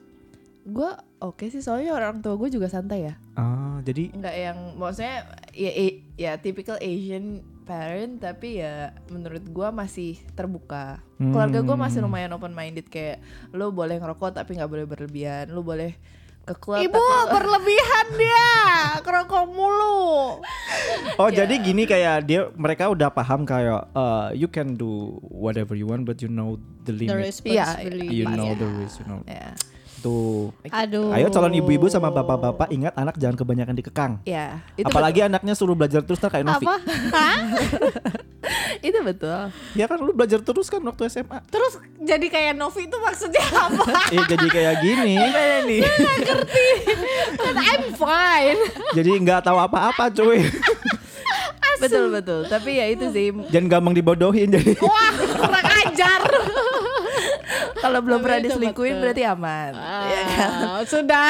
[SPEAKER 3] Gue oke sih soalnya orang tua gue juga santai ya.
[SPEAKER 1] Ah, jadi
[SPEAKER 3] nggak yang maksudnya ya i- ya typical Asian parent tapi ya menurut gua masih terbuka keluarga gua masih
[SPEAKER 1] Hmm.
[SPEAKER 3] lumayan open minded kayak lo boleh ngerokok tapi nggak boleh berlebihan lo boleh ke klub
[SPEAKER 2] Ibu
[SPEAKER 3] tapi-
[SPEAKER 2] berlebihan dia, kerokok mulu.
[SPEAKER 1] Oh
[SPEAKER 3] Ya.
[SPEAKER 1] jadi gini kayak dia mereka udah paham kayak uh, you can do whatever you want but you know the
[SPEAKER 2] The
[SPEAKER 1] limit.
[SPEAKER 3] Iya,
[SPEAKER 2] responsibility.
[SPEAKER 1] You know the risk, you know.
[SPEAKER 3] ya
[SPEAKER 1] Tuh.
[SPEAKER 2] Aduh.
[SPEAKER 1] Ayo calon ibu-ibu sama bapak-bapak ingat anak jangan kebanyakan dikekang.
[SPEAKER 3] ya itu
[SPEAKER 1] Apalagi anaknya suruh belajar terus ntar kayak Novi.
[SPEAKER 2] apa? Hah?
[SPEAKER 3] betul, itu betul
[SPEAKER 1] Ya kan lu belajar terus kan waktu SMA.
[SPEAKER 2] Terus jadi kayak Novi itu maksudnya apa?
[SPEAKER 1] Eh jadi kayak gini.
[SPEAKER 3] gimana nih
[SPEAKER 2] Kan I'm fine.
[SPEAKER 1] jadi nggak tahu apa-apa cuy.
[SPEAKER 3] betul betul tapi ya itu sih
[SPEAKER 1] Jangan gampang dibodohin jadi.
[SPEAKER 2] Wah, kurang ajar.
[SPEAKER 3] kalau belum
[SPEAKER 2] Tapi
[SPEAKER 3] pernah
[SPEAKER 2] itu
[SPEAKER 3] diselingkuhin
[SPEAKER 2] betul.
[SPEAKER 3] berarti aman ya kan?
[SPEAKER 2] Ah, sudah.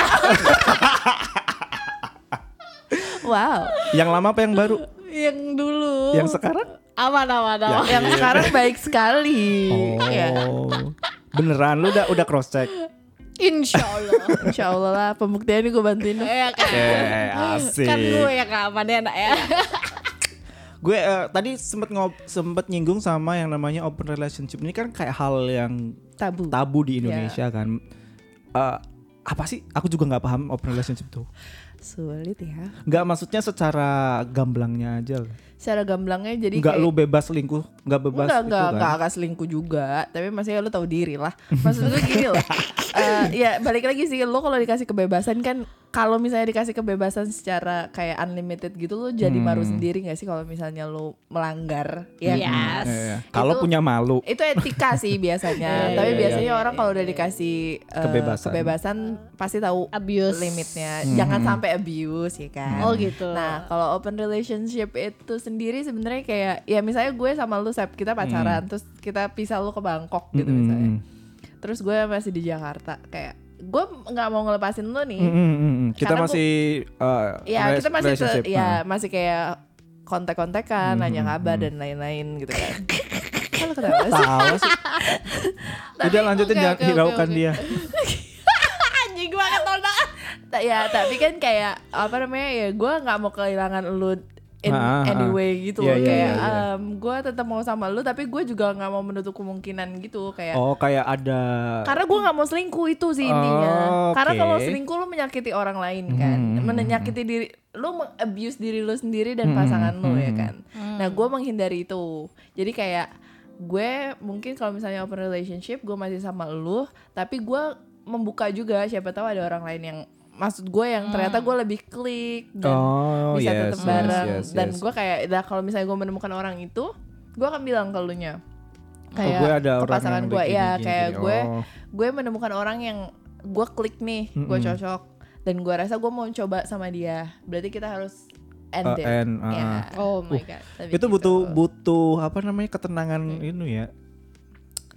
[SPEAKER 3] wow
[SPEAKER 1] yang lama apa yang baru?
[SPEAKER 2] Yang dulu.
[SPEAKER 1] Yang sekarang?
[SPEAKER 2] aman aman aman.
[SPEAKER 3] yang sekarang baik sekali ya
[SPEAKER 1] Oh. Beneran lu udah udah cross check.
[SPEAKER 2] Insya Allah.
[SPEAKER 3] Insya Allah lah pembuktiannya gue bantuin deh.
[SPEAKER 2] Ya kan.
[SPEAKER 1] Eh,
[SPEAKER 2] Kan gue yang gak aman ya
[SPEAKER 1] Iya,
[SPEAKER 2] nak ya.
[SPEAKER 1] kan? gue eh, tadi sempet ngop sempet nyinggung sama yang namanya open relationship ini kan kayak hal yang
[SPEAKER 3] tabu
[SPEAKER 1] tabu di Indonesia kan Eh, apa sih? Aku juga nggak paham open relationship tuh.
[SPEAKER 3] Sulit ya.
[SPEAKER 1] Nggak maksudnya secara gamblangnya aja. loh.
[SPEAKER 3] Secara gamblangnya jadi
[SPEAKER 1] Nggak
[SPEAKER 3] kayak-
[SPEAKER 1] lu bebas selingkuh, nggak bebas
[SPEAKER 3] Enggak,
[SPEAKER 1] itu
[SPEAKER 3] enggak,
[SPEAKER 1] kan?
[SPEAKER 3] enggak akan selingkuh juga Tapi maksudnya lu tahu diri lah Maksud gue gini loh Eh, Ya balik lagi sih Lu kalau dikasih kebebasan kan Kalau misalnya dikasih kebebasan secara kayak unlimited gitu Lu jadi malu sendiri gak sih kalau misalnya lu melanggar
[SPEAKER 2] Iya.
[SPEAKER 3] ya kan?
[SPEAKER 2] Yes.
[SPEAKER 1] Hmm. Iya, iya. Kalau
[SPEAKER 3] Itu-
[SPEAKER 1] punya malu.
[SPEAKER 3] Itu etika sih biasanya
[SPEAKER 1] Iya,
[SPEAKER 3] Tapi
[SPEAKER 1] iya,
[SPEAKER 3] biasanya orang kalau udah dikasih eh,
[SPEAKER 1] Kebebasan.
[SPEAKER 3] kebebasan Pasti tahu
[SPEAKER 2] Abuse.
[SPEAKER 3] limitnya
[SPEAKER 1] Hmm.
[SPEAKER 3] Jangan sampai abuse ya kan
[SPEAKER 2] Oh gitu.
[SPEAKER 3] Nah, kalau open relationship itu sendiri sebenarnya kayak ya misalnya gue sama lu Sep, kita
[SPEAKER 1] Hmm.
[SPEAKER 3] pacaran terus kita pisah lu ke Bangkok gitu
[SPEAKER 1] Mm,
[SPEAKER 3] misalnya.
[SPEAKER 1] mm,
[SPEAKER 3] Terus gue masih di Jakarta kayak gue nggak mau ngelepasin lu nih.
[SPEAKER 1] mm, mm, mm, mm. Kita
[SPEAKER 3] Karena
[SPEAKER 1] masih eh,
[SPEAKER 3] Ya,
[SPEAKER 1] res-
[SPEAKER 3] kita masih te-
[SPEAKER 1] relationship,
[SPEAKER 3] ya
[SPEAKER 1] nah. Hmm,
[SPEAKER 3] masih kayak kontak-kontakan, nanya kabar dan lain-lain gitu kan. Kalau ketawa sih.
[SPEAKER 1] Tahu sih. Udah
[SPEAKER 3] Tapi-
[SPEAKER 1] lanjutin
[SPEAKER 3] oke,
[SPEAKER 1] jangan
[SPEAKER 3] oke, oke,
[SPEAKER 1] hiraukan
[SPEAKER 3] oke.
[SPEAKER 1] dia.
[SPEAKER 3] anjing banget tolong Ta- ya tapi kan kayak apa namanya ya gue nggak mau kehilangan lu in
[SPEAKER 1] Ah, ah, ah.
[SPEAKER 3] anyway gitu
[SPEAKER 1] Iya,
[SPEAKER 3] loh
[SPEAKER 1] iya,
[SPEAKER 3] kayak
[SPEAKER 1] iya, iya.
[SPEAKER 3] gue tetap mau sama lu tapi gue juga nggak mau menutup kemungkinan gitu kayak
[SPEAKER 1] Oh, kayak ada
[SPEAKER 3] karena gue nggak mau selingkuh itu sih intinya
[SPEAKER 1] Oh,
[SPEAKER 3] karena
[SPEAKER 1] oke. Hmm,
[SPEAKER 3] kalau selingkuh lu menyakiti orang lain kan menyakiti diri lu mengabuse diri lu sendiri dan pasangan
[SPEAKER 1] hmm,
[SPEAKER 3] lu ya kan nah gue menghindari itu jadi kayak gue mungkin kalau misalnya open relationship gue masih sama lu tapi gue membuka juga siapa tahu ada orang lain yang maksud gue yang ternyata gue lebih klik dan
[SPEAKER 1] Oh,
[SPEAKER 3] bisa
[SPEAKER 1] yes,
[SPEAKER 3] tetap
[SPEAKER 1] yes,
[SPEAKER 3] bareng
[SPEAKER 1] yes,
[SPEAKER 3] dan
[SPEAKER 1] yes.
[SPEAKER 3] gue kayak dah kalau misalnya gue menemukan orang itu gue akan bilang ke lu nya kayak
[SPEAKER 1] gue Oh, ada
[SPEAKER 3] ke
[SPEAKER 1] orang
[SPEAKER 3] pasangan
[SPEAKER 1] yang
[SPEAKER 3] gue
[SPEAKER 1] begini,
[SPEAKER 3] ya
[SPEAKER 1] gini,
[SPEAKER 3] kayak
[SPEAKER 1] gini.
[SPEAKER 3] gue
[SPEAKER 1] Oh.
[SPEAKER 3] gue menemukan orang yang gue klik nih gue cocok dan gue rasa gue mau coba sama dia berarti kita harus end
[SPEAKER 1] Uh,
[SPEAKER 3] it
[SPEAKER 1] end, uh,
[SPEAKER 3] Ya,
[SPEAKER 2] Oh my god.
[SPEAKER 3] lebih
[SPEAKER 1] itu
[SPEAKER 3] gitu.
[SPEAKER 1] butuh butuh apa namanya ketenangan ini ya.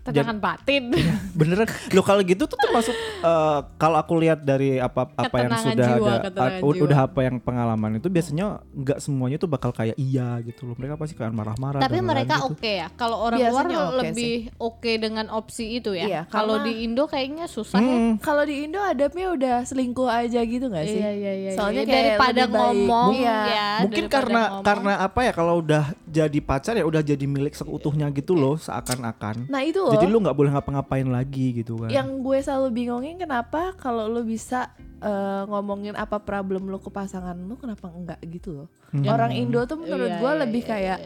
[SPEAKER 2] Tenangan batin.
[SPEAKER 1] Iya, Beneran. Loh kalau gitu tuh termasuk eh, kalau aku lihat dari apa apa yang
[SPEAKER 2] Ketenangan
[SPEAKER 1] sudah
[SPEAKER 2] jiwa,
[SPEAKER 1] ada
[SPEAKER 2] ketenangan
[SPEAKER 1] ah, u-
[SPEAKER 2] jiwa.
[SPEAKER 1] udah apa yang pengalaman itu biasanya nggak semuanya tuh bakal kayak iya gitu loh. Mereka pasti kan marah-marah. dan
[SPEAKER 2] Tapi
[SPEAKER 1] lain-lain
[SPEAKER 2] mereka
[SPEAKER 1] gitu.
[SPEAKER 2] oke ya. Kalau orang
[SPEAKER 3] Biasanya
[SPEAKER 2] luar
[SPEAKER 3] oke
[SPEAKER 2] lebih oke dengan opsi itu ya.
[SPEAKER 3] Iya,
[SPEAKER 2] Kalau
[SPEAKER 3] karena-
[SPEAKER 2] di Indo kayaknya susah
[SPEAKER 1] Hmm. Iya
[SPEAKER 2] ya.
[SPEAKER 3] kalau di Indo adabnya udah selingkuh aja gitu gak sih
[SPEAKER 2] Iya, iya, iya, iya.
[SPEAKER 3] soalnya kayak
[SPEAKER 2] daripada
[SPEAKER 3] lebih baik.
[SPEAKER 2] ngomong
[SPEAKER 3] Iya.
[SPEAKER 2] ya.
[SPEAKER 1] Mungkin
[SPEAKER 2] daripada
[SPEAKER 1] karena
[SPEAKER 2] ngomong.
[SPEAKER 1] karena apa ya kalau udah jadi pacar ya udah jadi milik seutuhnya gitu loh seakan-akan.
[SPEAKER 3] nah itu loh
[SPEAKER 1] Jadi lu nggak boleh ngapa-ngapain lagi gitu kan.
[SPEAKER 3] yang gue selalu bingungin kenapa kalau lu bisa eh, ngomongin apa problem lu ke pasangan lu kenapa enggak gitu loh orang Indo tuh menurut
[SPEAKER 2] Iya,
[SPEAKER 3] gue
[SPEAKER 2] iya,
[SPEAKER 3] lebih
[SPEAKER 2] iya,
[SPEAKER 3] kayak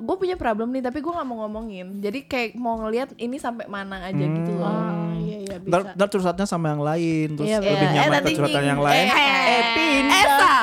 [SPEAKER 3] gue punya problem nih tapi gue nggak mau ngomongin jadi kayak mau ngelihat ini sampai mana aja gitu loh
[SPEAKER 2] Ah, iya iya bisa.
[SPEAKER 1] Ntar, ntar curhatnya sama yang lain terus
[SPEAKER 3] Iya,
[SPEAKER 1] lebih
[SPEAKER 3] bener. Eh,
[SPEAKER 1] nyaman
[SPEAKER 3] nanti
[SPEAKER 1] ke curhatan
[SPEAKER 3] nying-
[SPEAKER 1] yang lain.
[SPEAKER 3] eh, eh, pindah.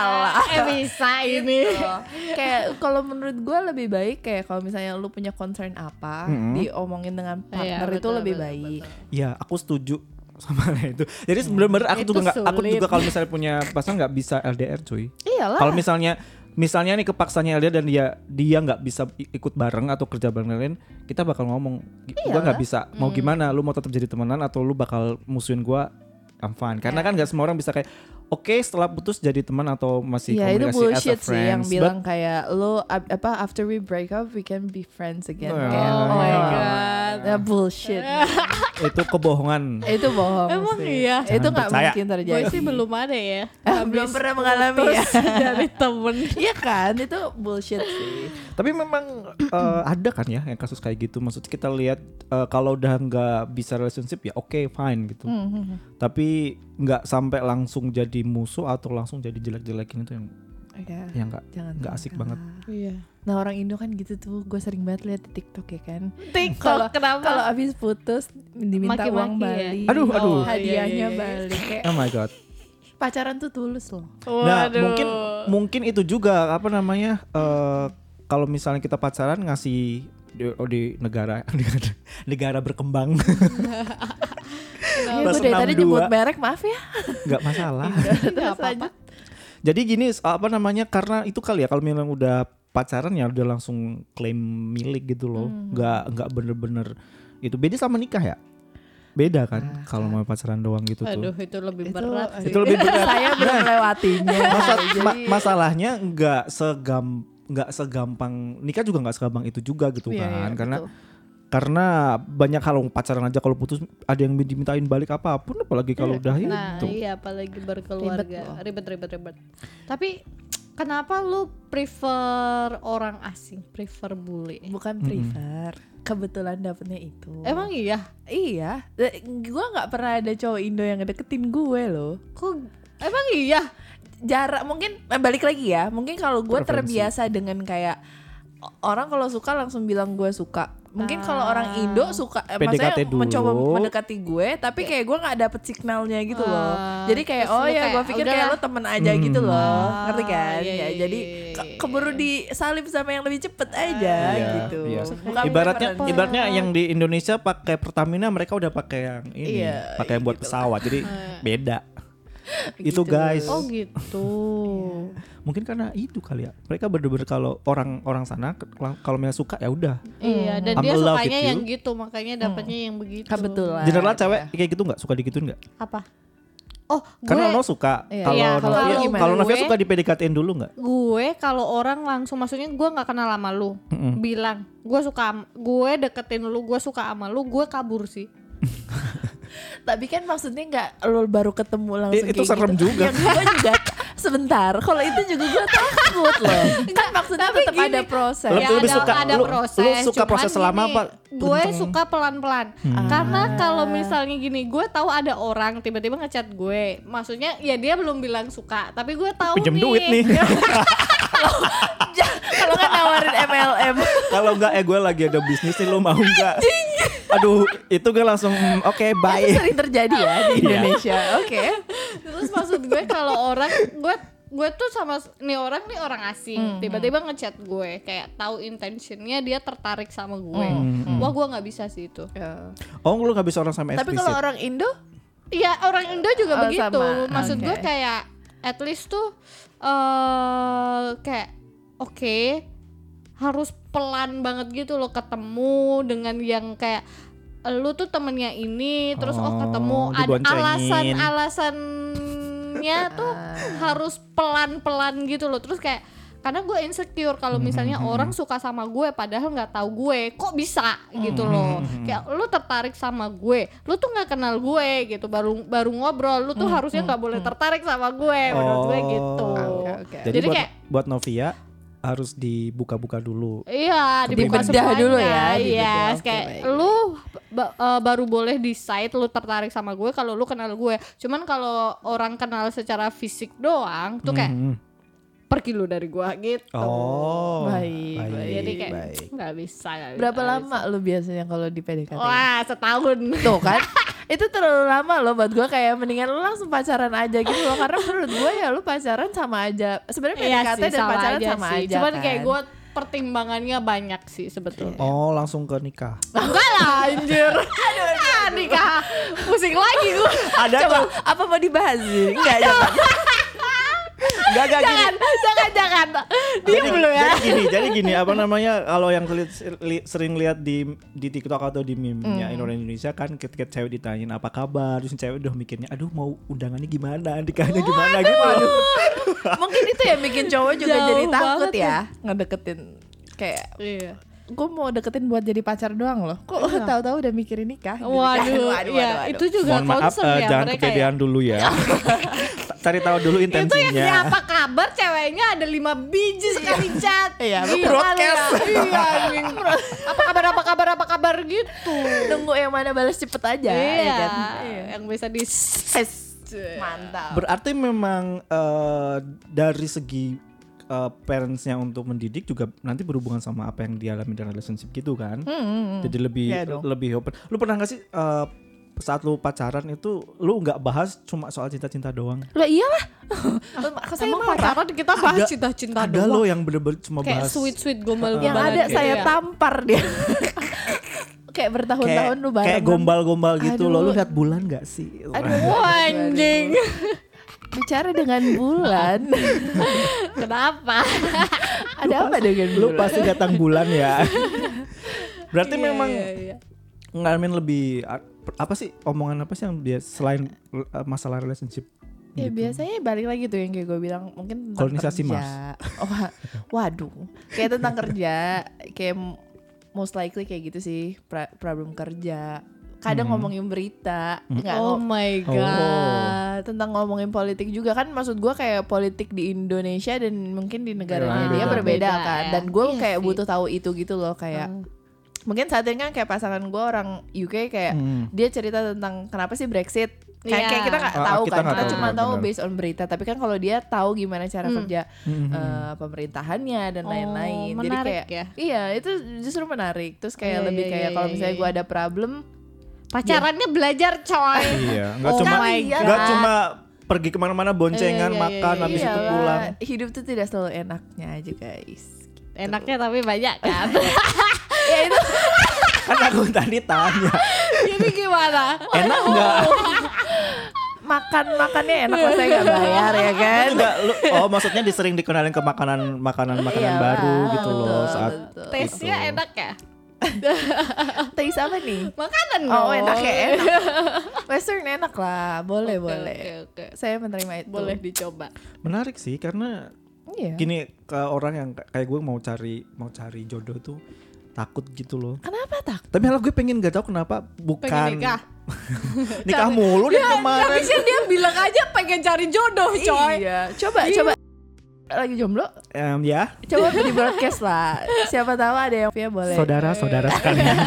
[SPEAKER 2] Eh bisa ini.
[SPEAKER 3] Loh. kayak kalau menurut gue lebih baik kayak kalau misalnya lu punya concern apa diomongin dengan partner itu
[SPEAKER 2] Iya, betul,
[SPEAKER 3] lebih
[SPEAKER 2] betul,
[SPEAKER 3] baik
[SPEAKER 1] Ya, aku setuju sama itu. Jadi sebenarnya aku
[SPEAKER 2] Itu
[SPEAKER 1] juga nggak, aku
[SPEAKER 2] sulit.
[SPEAKER 1] juga kalau misalnya punya pasangan nggak bisa LDR cuy.
[SPEAKER 3] iyalah
[SPEAKER 1] Kalau misalnya, misalnya nih kepaksanya LDR dan dia dia nggak bisa i- ikut bareng atau kerja bareng lain, kita bakal ngomong, gua
[SPEAKER 3] Iya.
[SPEAKER 1] nggak bisa. Mau
[SPEAKER 3] Hmm.
[SPEAKER 1] gimana? Lu mau tetap jadi temenan atau lu bakal musuhin gua? I'm fine.
[SPEAKER 3] Iya.
[SPEAKER 1] Karena kan nggak semua orang bisa kayak, oke setelah putus jadi teman atau masih
[SPEAKER 3] Ya itu
[SPEAKER 1] komunikasi as a
[SPEAKER 3] bullshit sih yang
[SPEAKER 1] friends." But
[SPEAKER 3] bilang kayak lo ab- apa after we break up we can be friends again.
[SPEAKER 1] Oh,
[SPEAKER 3] Kayak,
[SPEAKER 1] Oh my
[SPEAKER 2] God.
[SPEAKER 3] That Nah, bullshit.
[SPEAKER 1] itu kebohongan.
[SPEAKER 3] itu bohong.
[SPEAKER 2] Emang
[SPEAKER 3] sih.
[SPEAKER 2] iya?
[SPEAKER 1] Jangan
[SPEAKER 3] Itu nggak
[SPEAKER 1] percaya.
[SPEAKER 3] mungkin
[SPEAKER 2] Gue
[SPEAKER 3] terjadi.
[SPEAKER 2] sih belum ada ya.
[SPEAKER 3] Ah, belum
[SPEAKER 2] Habis
[SPEAKER 3] pernah mengalami ya.
[SPEAKER 2] putus dari temen.
[SPEAKER 3] Iya kan? Itu bullshit sih.
[SPEAKER 1] Tapi memang eh, ada kan ya yang kasus kayak gitu. Maksudnya kita lihat eh, kalau udah nggak bisa relationship ya oke fine gitu.
[SPEAKER 3] Hmm,
[SPEAKER 1] Tapi nggak sampai langsung jadi musuh atau langsung jadi jelek-jelekin itu yang
[SPEAKER 3] Iya.
[SPEAKER 1] yang nggak
[SPEAKER 3] Jangan
[SPEAKER 1] Ya, nggak asik banget.
[SPEAKER 2] Iya.
[SPEAKER 3] Nah orang Indo kan gitu tuh, gue sering banget lihat di TikTok ya kan.
[SPEAKER 2] TikTok
[SPEAKER 3] Kalau-
[SPEAKER 2] kenapa?
[SPEAKER 3] Kalau abis putus diminta
[SPEAKER 2] Maki-maki
[SPEAKER 3] uang
[SPEAKER 2] ya?
[SPEAKER 3] balik,
[SPEAKER 1] Aduh, aduh.
[SPEAKER 2] Oh, iya, iya,
[SPEAKER 3] hadiahnya
[SPEAKER 2] iya.
[SPEAKER 3] balik. Kayak
[SPEAKER 1] Oh my god.
[SPEAKER 3] pacaran tuh tulus loh.
[SPEAKER 1] Nah
[SPEAKER 2] Waduh. Iya,
[SPEAKER 1] mungkin mungkin itu juga apa namanya eh, kalau misalnya kita pacaran ngasih di, oh, di negara negara berkembang
[SPEAKER 3] Iya,
[SPEAKER 1] Plus
[SPEAKER 3] gue dari tadi
[SPEAKER 1] 62.
[SPEAKER 3] nyebut merek, maaf ya.
[SPEAKER 1] nggak masalah.
[SPEAKER 2] Iya, Nggak apa-apa.
[SPEAKER 1] Jadi gini s- apa namanya karena itu kali ya kalau memang udah pacaran ya udah langsung klaim milik gitu loh.
[SPEAKER 2] Hmm.
[SPEAKER 1] Nggak nggak bener-bener itu beda sama nikah ya. Beda kan kalau mau pacaran doang gitu
[SPEAKER 2] Aduh
[SPEAKER 1] tuh.
[SPEAKER 2] itu lebih
[SPEAKER 3] Itu-
[SPEAKER 2] berat sih.
[SPEAKER 1] Itu lebih berat. Nah,
[SPEAKER 3] Saya belum melewatinya.
[SPEAKER 1] Masa- ma-
[SPEAKER 2] iya,
[SPEAKER 3] Jadi-
[SPEAKER 1] masalahnya nggak segam nggak segampang nikah juga nggak segampang itu juga gitu
[SPEAKER 3] Iya,
[SPEAKER 1] kan
[SPEAKER 3] iya,
[SPEAKER 1] karena
[SPEAKER 3] betul.
[SPEAKER 1] karena banyak hal pacaran aja kalau putus ada yang dimintain balik apapun apalagi kalau udah
[SPEAKER 2] Nah
[SPEAKER 1] itu
[SPEAKER 2] iya apalagi berkeluarga ribet ribet ribet. Tapi kenapa lu prefer orang asing, prefer bule?
[SPEAKER 3] bukan prefer kebetulan dapetnya itu.
[SPEAKER 2] Emang iya?
[SPEAKER 3] Iya, Eh, gua nggak pernah ada cowok Indo yang ngedeketin gue loh.
[SPEAKER 2] Kok emang iya?
[SPEAKER 3] Jarak mungkin eh, balik lagi ya. Mungkin kalau gue
[SPEAKER 1] Preferensi.
[SPEAKER 3] terbiasa dengan kayak o- orang kalau suka langsung bilang gue suka. Mungkin kalau
[SPEAKER 2] Ah.
[SPEAKER 3] orang Indo suka eh, maksudnya
[SPEAKER 1] PDKT dulu.
[SPEAKER 3] mencoba mendekati gue, tapi kayak gue nggak dapet signalnya gitu loh.
[SPEAKER 2] Ah,
[SPEAKER 3] Jadi kayak
[SPEAKER 2] terus
[SPEAKER 3] oh
[SPEAKER 2] lu
[SPEAKER 3] ya
[SPEAKER 2] kayak,
[SPEAKER 3] gue pikir kayak
[SPEAKER 2] "Udahlah." Hmm.
[SPEAKER 3] lo temen aja gitu loh, ngerti kan?
[SPEAKER 2] iya,
[SPEAKER 3] ya,
[SPEAKER 2] iya,
[SPEAKER 3] jadi
[SPEAKER 2] iya, iya, Ah,
[SPEAKER 3] ke- keburu disalip sama yang lebih cepet aja
[SPEAKER 1] Iya,
[SPEAKER 3] gitu.
[SPEAKER 1] iya.
[SPEAKER 3] Bukan
[SPEAKER 1] Ibaratnya
[SPEAKER 3] preferensi.
[SPEAKER 1] ibaratnya yang di Indonesia pakai Pertamina mereka udah pakai yang ini,
[SPEAKER 3] Iya,
[SPEAKER 1] pakai yang buat pesawat. Jadi beda. itu
[SPEAKER 3] Gitu.
[SPEAKER 1] guys.
[SPEAKER 2] Oh gitu.
[SPEAKER 1] Mungkin karena itu kali ya. Mereka bener-bener kalau orang-orang sana ke- kalau misalnya suka ya udah.
[SPEAKER 2] Iya,
[SPEAKER 1] I'm
[SPEAKER 2] dan dia
[SPEAKER 1] in love with
[SPEAKER 2] sukanya
[SPEAKER 1] you.
[SPEAKER 2] yang gitu, makanya dapatnya yang begitu.
[SPEAKER 3] kebetulan.
[SPEAKER 1] General cewek
[SPEAKER 3] iya.
[SPEAKER 1] kayak gitu nggak suka digituin nggak?
[SPEAKER 2] Apa? Oh, gue
[SPEAKER 1] Karena Nono suka.
[SPEAKER 3] Iya.
[SPEAKER 1] Kalau
[SPEAKER 2] Iya,
[SPEAKER 1] Novia-
[SPEAKER 2] kalau
[SPEAKER 1] kalau Novia
[SPEAKER 2] gue-
[SPEAKER 1] suka di PDKT-in dulu nggak?
[SPEAKER 2] gue kalau orang langsung maksudnya gue nggak kenal sama lu bilang gue suka am- gue deketin lu gue suka sama lu gue kabur sih
[SPEAKER 3] Tapi kan maksudnya nggak lo baru ketemu langsung
[SPEAKER 1] Eh, itu
[SPEAKER 3] kayak
[SPEAKER 1] serem
[SPEAKER 3] gitu.
[SPEAKER 1] juga.
[SPEAKER 3] Yang gue juga sebentar. Kalau itu juga gue takut loh. Kan maksudnya tetap
[SPEAKER 2] gini,
[SPEAKER 3] ada proses.
[SPEAKER 1] Lu- lu lebih suka-
[SPEAKER 2] ada
[SPEAKER 1] lu- lu
[SPEAKER 2] proses
[SPEAKER 1] suka
[SPEAKER 2] cuman
[SPEAKER 1] proses lama
[SPEAKER 2] gini,
[SPEAKER 1] apa Hmm.
[SPEAKER 2] gue
[SPEAKER 1] kenceng?
[SPEAKER 2] suka pelan-pelan karena kalau misalnya gini gue tahu ada orang tiba-tiba ngechat gue maksudnya ya dia belum bilang suka tapi gue tahu
[SPEAKER 1] Pinjem duit nih.
[SPEAKER 3] Kalau nggak nawarin MLM.
[SPEAKER 1] kalau nggak eh gue lagi ada bisnis nih lo mau nggak? Aduh itu gue langsung mm, oke
[SPEAKER 3] Itu
[SPEAKER 1] bye.
[SPEAKER 3] sering terjadi ya di
[SPEAKER 1] Iya.
[SPEAKER 3] Indonesia. Oke.
[SPEAKER 2] Terus maksud gue kalau orang gue gue tuh sama nih orang nih orang asing tiba-tiba ngechat gue kayak tahu intentionnya dia tertarik sama gue wah gue nggak bisa sih itu
[SPEAKER 1] Oh lu nggak bisa orang sama
[SPEAKER 3] Tapi kalau
[SPEAKER 1] eksplisit.
[SPEAKER 3] orang Indo
[SPEAKER 2] Iya orang Indo juga
[SPEAKER 3] Oh,
[SPEAKER 2] begitu
[SPEAKER 3] sama.
[SPEAKER 2] maksud gue
[SPEAKER 3] Oke.
[SPEAKER 2] kayak at least tuh eh kayak oke harus pelan banget gitu loh ketemu dengan yang kayak lu tuh temennya ini terus oh,
[SPEAKER 1] Oh,
[SPEAKER 2] ketemu ada
[SPEAKER 1] diboncengin.
[SPEAKER 2] alasan alasannya tuh harus pelan-pelan gitu loh terus kayak karena gue insecure kalau misalnya orang suka sama gue padahal nggak tahu gue kok bisa gitu loh kayak lu tertarik sama gue lu tuh nggak kenal gue gitu baru baru ngobrol lu tuh harusnya nggak boleh tertarik sama gue menurut gue gitu
[SPEAKER 3] Oke, oke.
[SPEAKER 1] Jadi,
[SPEAKER 2] Jadi
[SPEAKER 1] buat,
[SPEAKER 2] kayak-
[SPEAKER 1] buat Novia harus dibuka-buka dulu.
[SPEAKER 2] Iya, dibuka
[SPEAKER 3] Dibedah
[SPEAKER 2] semuanya.
[SPEAKER 3] dulu ya,
[SPEAKER 2] Iya,
[SPEAKER 3] dibedah. Oke,
[SPEAKER 2] kayak
[SPEAKER 3] baik.
[SPEAKER 2] lu ba- eh, baru boleh decide lu tertarik sama gue kalau lu kenal gue. Cuman kalau orang kenal secara fisik doang tuh kayak
[SPEAKER 3] Hmm.
[SPEAKER 1] Mhm.
[SPEAKER 2] pergi lu dari gue gitu.
[SPEAKER 1] Oh,
[SPEAKER 3] Baik, baik.
[SPEAKER 2] Jadi kayak
[SPEAKER 1] baik.
[SPEAKER 2] nggak bisa. nggak bisa,
[SPEAKER 3] berapa
[SPEAKER 2] nggak
[SPEAKER 3] lama lu biasanya kalau di
[SPEAKER 2] bisa.
[SPEAKER 3] PDKT?
[SPEAKER 2] iya, Wah, setahun.
[SPEAKER 3] Tuh kan itu terlalu lama loh buat gue kayak mendingan lu langsung pacaran aja gitu loh karena menurut gue ya lu pacaran sama aja sebenarnya
[SPEAKER 2] Iya
[SPEAKER 3] PDKT
[SPEAKER 2] sih,
[SPEAKER 3] dan
[SPEAKER 2] sama
[SPEAKER 3] pacaran
[SPEAKER 2] aja
[SPEAKER 3] sama
[SPEAKER 2] sih.
[SPEAKER 3] aja
[SPEAKER 2] Cuman
[SPEAKER 3] kan.
[SPEAKER 2] kayak gue pertimbangannya banyak sih sebetulnya.
[SPEAKER 1] Oh langsung ke nikah.
[SPEAKER 3] Iya.
[SPEAKER 2] Enggak lah, anjir. Ah, nikah. Pusing lagi gue.
[SPEAKER 1] Ada
[SPEAKER 3] Coba
[SPEAKER 1] tuh.
[SPEAKER 3] apa mau dibahas sih? Enggak, jangan.
[SPEAKER 1] Gak gak gini.
[SPEAKER 2] jangan, kan. jangan, jangan. Diem
[SPEAKER 1] Jadi,
[SPEAKER 2] lu ya.
[SPEAKER 1] jadi gini, jadi gini apa namanya kalau yang li- li- sering lihat di di TikTok atau di
[SPEAKER 2] Mm.
[SPEAKER 1] meme-nya orang Indonesia kan ketika cewek ditanyain apa kabar, terus cewek udah mikirnya aduh mau undangannya gimana, nikahnya gimana gitu. Aduh.
[SPEAKER 3] Mungkin itu yang bikin cowok juga
[SPEAKER 2] Jauh
[SPEAKER 3] jadi takut
[SPEAKER 2] banget
[SPEAKER 3] ya ngedeketin kayak
[SPEAKER 2] Iya.
[SPEAKER 3] gue mau deketin buat jadi pacar doang loh. Kok tahu-tahu udah mikirin nikah? gitu kan.
[SPEAKER 2] Waduh, ya itu juga
[SPEAKER 1] Mohon maaf
[SPEAKER 2] concern
[SPEAKER 1] eh,
[SPEAKER 2] ya
[SPEAKER 1] jangan
[SPEAKER 2] mereka ya.
[SPEAKER 1] kepedean dulu ya. Cari tahu dulu
[SPEAKER 2] Itu yang dia
[SPEAKER 1] intensinya.
[SPEAKER 2] apa kabar ceweknya ada lima biji sekali chat.
[SPEAKER 3] Iya,
[SPEAKER 2] Gila lu ya.
[SPEAKER 3] broadcast.
[SPEAKER 2] Iya, anjing. Apa kabar apa kabar apa kabar gitu.
[SPEAKER 3] Nunggu yang mana balas cepet aja. ya
[SPEAKER 2] Iya,
[SPEAKER 3] kan?
[SPEAKER 2] yang bisa di
[SPEAKER 3] Ses. Mantap.
[SPEAKER 1] Berarti memang eh, dari segi eh, parentsnya untuk mendidik juga nanti berhubungan sama apa yang dialami dalam relationship gitu kan. Jadi lebih
[SPEAKER 3] Iya dong.
[SPEAKER 1] lebih open. Lu pernah gak sih eh, saat lu pacaran itu lu nggak bahas cuma soal cinta-cinta doang?
[SPEAKER 3] Lah iyalah. Kok saya
[SPEAKER 2] iya Emang
[SPEAKER 3] marah?
[SPEAKER 2] pacaran kita bahas
[SPEAKER 1] Ada-
[SPEAKER 2] cinta-cinta
[SPEAKER 1] Ada
[SPEAKER 2] doang.
[SPEAKER 1] lo yang bener-bener cuma
[SPEAKER 2] Kayak
[SPEAKER 1] bahas
[SPEAKER 2] sweet-sweet gombal-gombal
[SPEAKER 3] yang ada
[SPEAKER 1] gitu
[SPEAKER 3] saya
[SPEAKER 2] ya.
[SPEAKER 3] tampar dia. kayak
[SPEAKER 1] kayak,
[SPEAKER 3] bertahun-tahun lu bareng. kan?
[SPEAKER 1] kayak gombal-gombal gitu lo. Lu
[SPEAKER 3] Aduh.
[SPEAKER 1] lihat bulan gak sih?
[SPEAKER 3] Aduh,
[SPEAKER 2] Wah, anjing.
[SPEAKER 3] bicara dengan bulan.
[SPEAKER 2] Kenapa?
[SPEAKER 3] ada apa dengan
[SPEAKER 1] lu
[SPEAKER 3] bulan?
[SPEAKER 1] pasti datang bulan ya. Berarti
[SPEAKER 2] Iya,
[SPEAKER 1] memang
[SPEAKER 2] iya, iya.
[SPEAKER 1] ngalamin lebih a- apa sih omongan apa sih yang dia selain uh, masalah relationship?
[SPEAKER 3] Ya
[SPEAKER 1] gitu?
[SPEAKER 3] biasanya balik lagi tuh yang kayak gue bilang mungkin tentang
[SPEAKER 1] Kolonisasi
[SPEAKER 3] kerja.
[SPEAKER 1] Mars.
[SPEAKER 3] Wah, waduh, kayak tentang kerja, kayak m- most likely kayak gitu sih pra- problem kerja. Kadang
[SPEAKER 1] Hmm.
[SPEAKER 3] ngomongin berita, nggak
[SPEAKER 2] Oh
[SPEAKER 3] ngom-
[SPEAKER 2] my
[SPEAKER 1] Oh.
[SPEAKER 2] god.
[SPEAKER 3] tentang ngomongin politik juga kan maksud gue kayak politik di Indonesia dan mungkin di negaranya
[SPEAKER 1] Iya,
[SPEAKER 3] dia
[SPEAKER 1] beda.
[SPEAKER 3] berbeda
[SPEAKER 2] Beda,
[SPEAKER 3] kan
[SPEAKER 2] ya.
[SPEAKER 3] dan gue
[SPEAKER 2] Iya
[SPEAKER 3] kayak
[SPEAKER 2] sih. Hmm.
[SPEAKER 3] butuh tahu itu gitu loh kayak mungkin saat ini kan kayak pasangan gue orang UK kayak
[SPEAKER 1] Hmm.
[SPEAKER 3] dia cerita tentang kenapa sih Brexit kayak,
[SPEAKER 2] Iya.
[SPEAKER 3] kayak kita nggak
[SPEAKER 1] Ah,
[SPEAKER 3] tahu
[SPEAKER 1] kita
[SPEAKER 3] kan
[SPEAKER 1] nggak
[SPEAKER 3] kita
[SPEAKER 1] tahu,
[SPEAKER 3] cuma
[SPEAKER 1] benar,
[SPEAKER 3] tahu
[SPEAKER 1] benar.
[SPEAKER 3] based on berita tapi kan kalau dia tahu gimana cara
[SPEAKER 2] Hmm.
[SPEAKER 3] kerja
[SPEAKER 1] Hmm,
[SPEAKER 3] eh, pemerintahannya dan
[SPEAKER 2] Oh,
[SPEAKER 3] lain-lain jadi
[SPEAKER 2] menarik
[SPEAKER 3] kayak
[SPEAKER 2] ya.
[SPEAKER 3] iya itu justru menarik terus
[SPEAKER 2] Iya,
[SPEAKER 3] kayak lebih
[SPEAKER 2] iya,
[SPEAKER 3] kayak
[SPEAKER 2] iya,
[SPEAKER 3] kalau
[SPEAKER 2] iya,
[SPEAKER 3] misalnya
[SPEAKER 2] iya.
[SPEAKER 3] gue ada problem
[SPEAKER 2] Pacarannya belajar coy.
[SPEAKER 1] Iya, nggak
[SPEAKER 2] Oh
[SPEAKER 1] cuma
[SPEAKER 2] my
[SPEAKER 3] God.
[SPEAKER 1] nggak cuma pergi kemana-mana boncengan
[SPEAKER 2] Iya, iya, iya,
[SPEAKER 1] makan
[SPEAKER 2] iya,
[SPEAKER 1] habis itu
[SPEAKER 3] iyalah,
[SPEAKER 1] pulang.
[SPEAKER 3] hidup tuh tidak selalu enaknya aja guys Gitu.
[SPEAKER 2] Enaknya tapi banyak kan.
[SPEAKER 3] ya itu
[SPEAKER 1] Kan aku tadi tanya,
[SPEAKER 2] Jadi gimana?
[SPEAKER 1] enak nggak?
[SPEAKER 3] makan makannya enak masa saya nggak bayar ya kan
[SPEAKER 1] Enggak, lu- oh maksudnya disering dikenalin ke makanan makanan makanan
[SPEAKER 3] Iya,
[SPEAKER 1] baru
[SPEAKER 3] betul,
[SPEAKER 1] gitu loh saat
[SPEAKER 3] betul.
[SPEAKER 2] Tesnya
[SPEAKER 1] Gitu.
[SPEAKER 2] enak ya?
[SPEAKER 3] Taste apa nih
[SPEAKER 2] Makanan
[SPEAKER 3] oh
[SPEAKER 2] dong.
[SPEAKER 3] enak ya enak western enak lah boleh
[SPEAKER 2] Oke,
[SPEAKER 3] boleh
[SPEAKER 2] Oke, oke.
[SPEAKER 3] saya menerima itu
[SPEAKER 2] Boleh dicoba.
[SPEAKER 1] menarik sih karena
[SPEAKER 3] iya
[SPEAKER 1] gini ke orang yang k- kayak gue mau cari mau cari jodoh tuh takut gitu loh.
[SPEAKER 3] kenapa tak
[SPEAKER 1] Tapi kalau gue pengen gak tahu kenapa bukan
[SPEAKER 2] Pengen nikah.
[SPEAKER 1] Nikah mulu
[SPEAKER 2] Ya,
[SPEAKER 1] nih kemarin.
[SPEAKER 2] Habisnya dia bilang aja pengen cari jodoh coy.
[SPEAKER 3] iya coba coba lagi jomblo
[SPEAKER 1] Em, ya,
[SPEAKER 3] coba di broadcast lah siapa tahu ada yang ya boleh
[SPEAKER 1] saudara-saudara sekalian.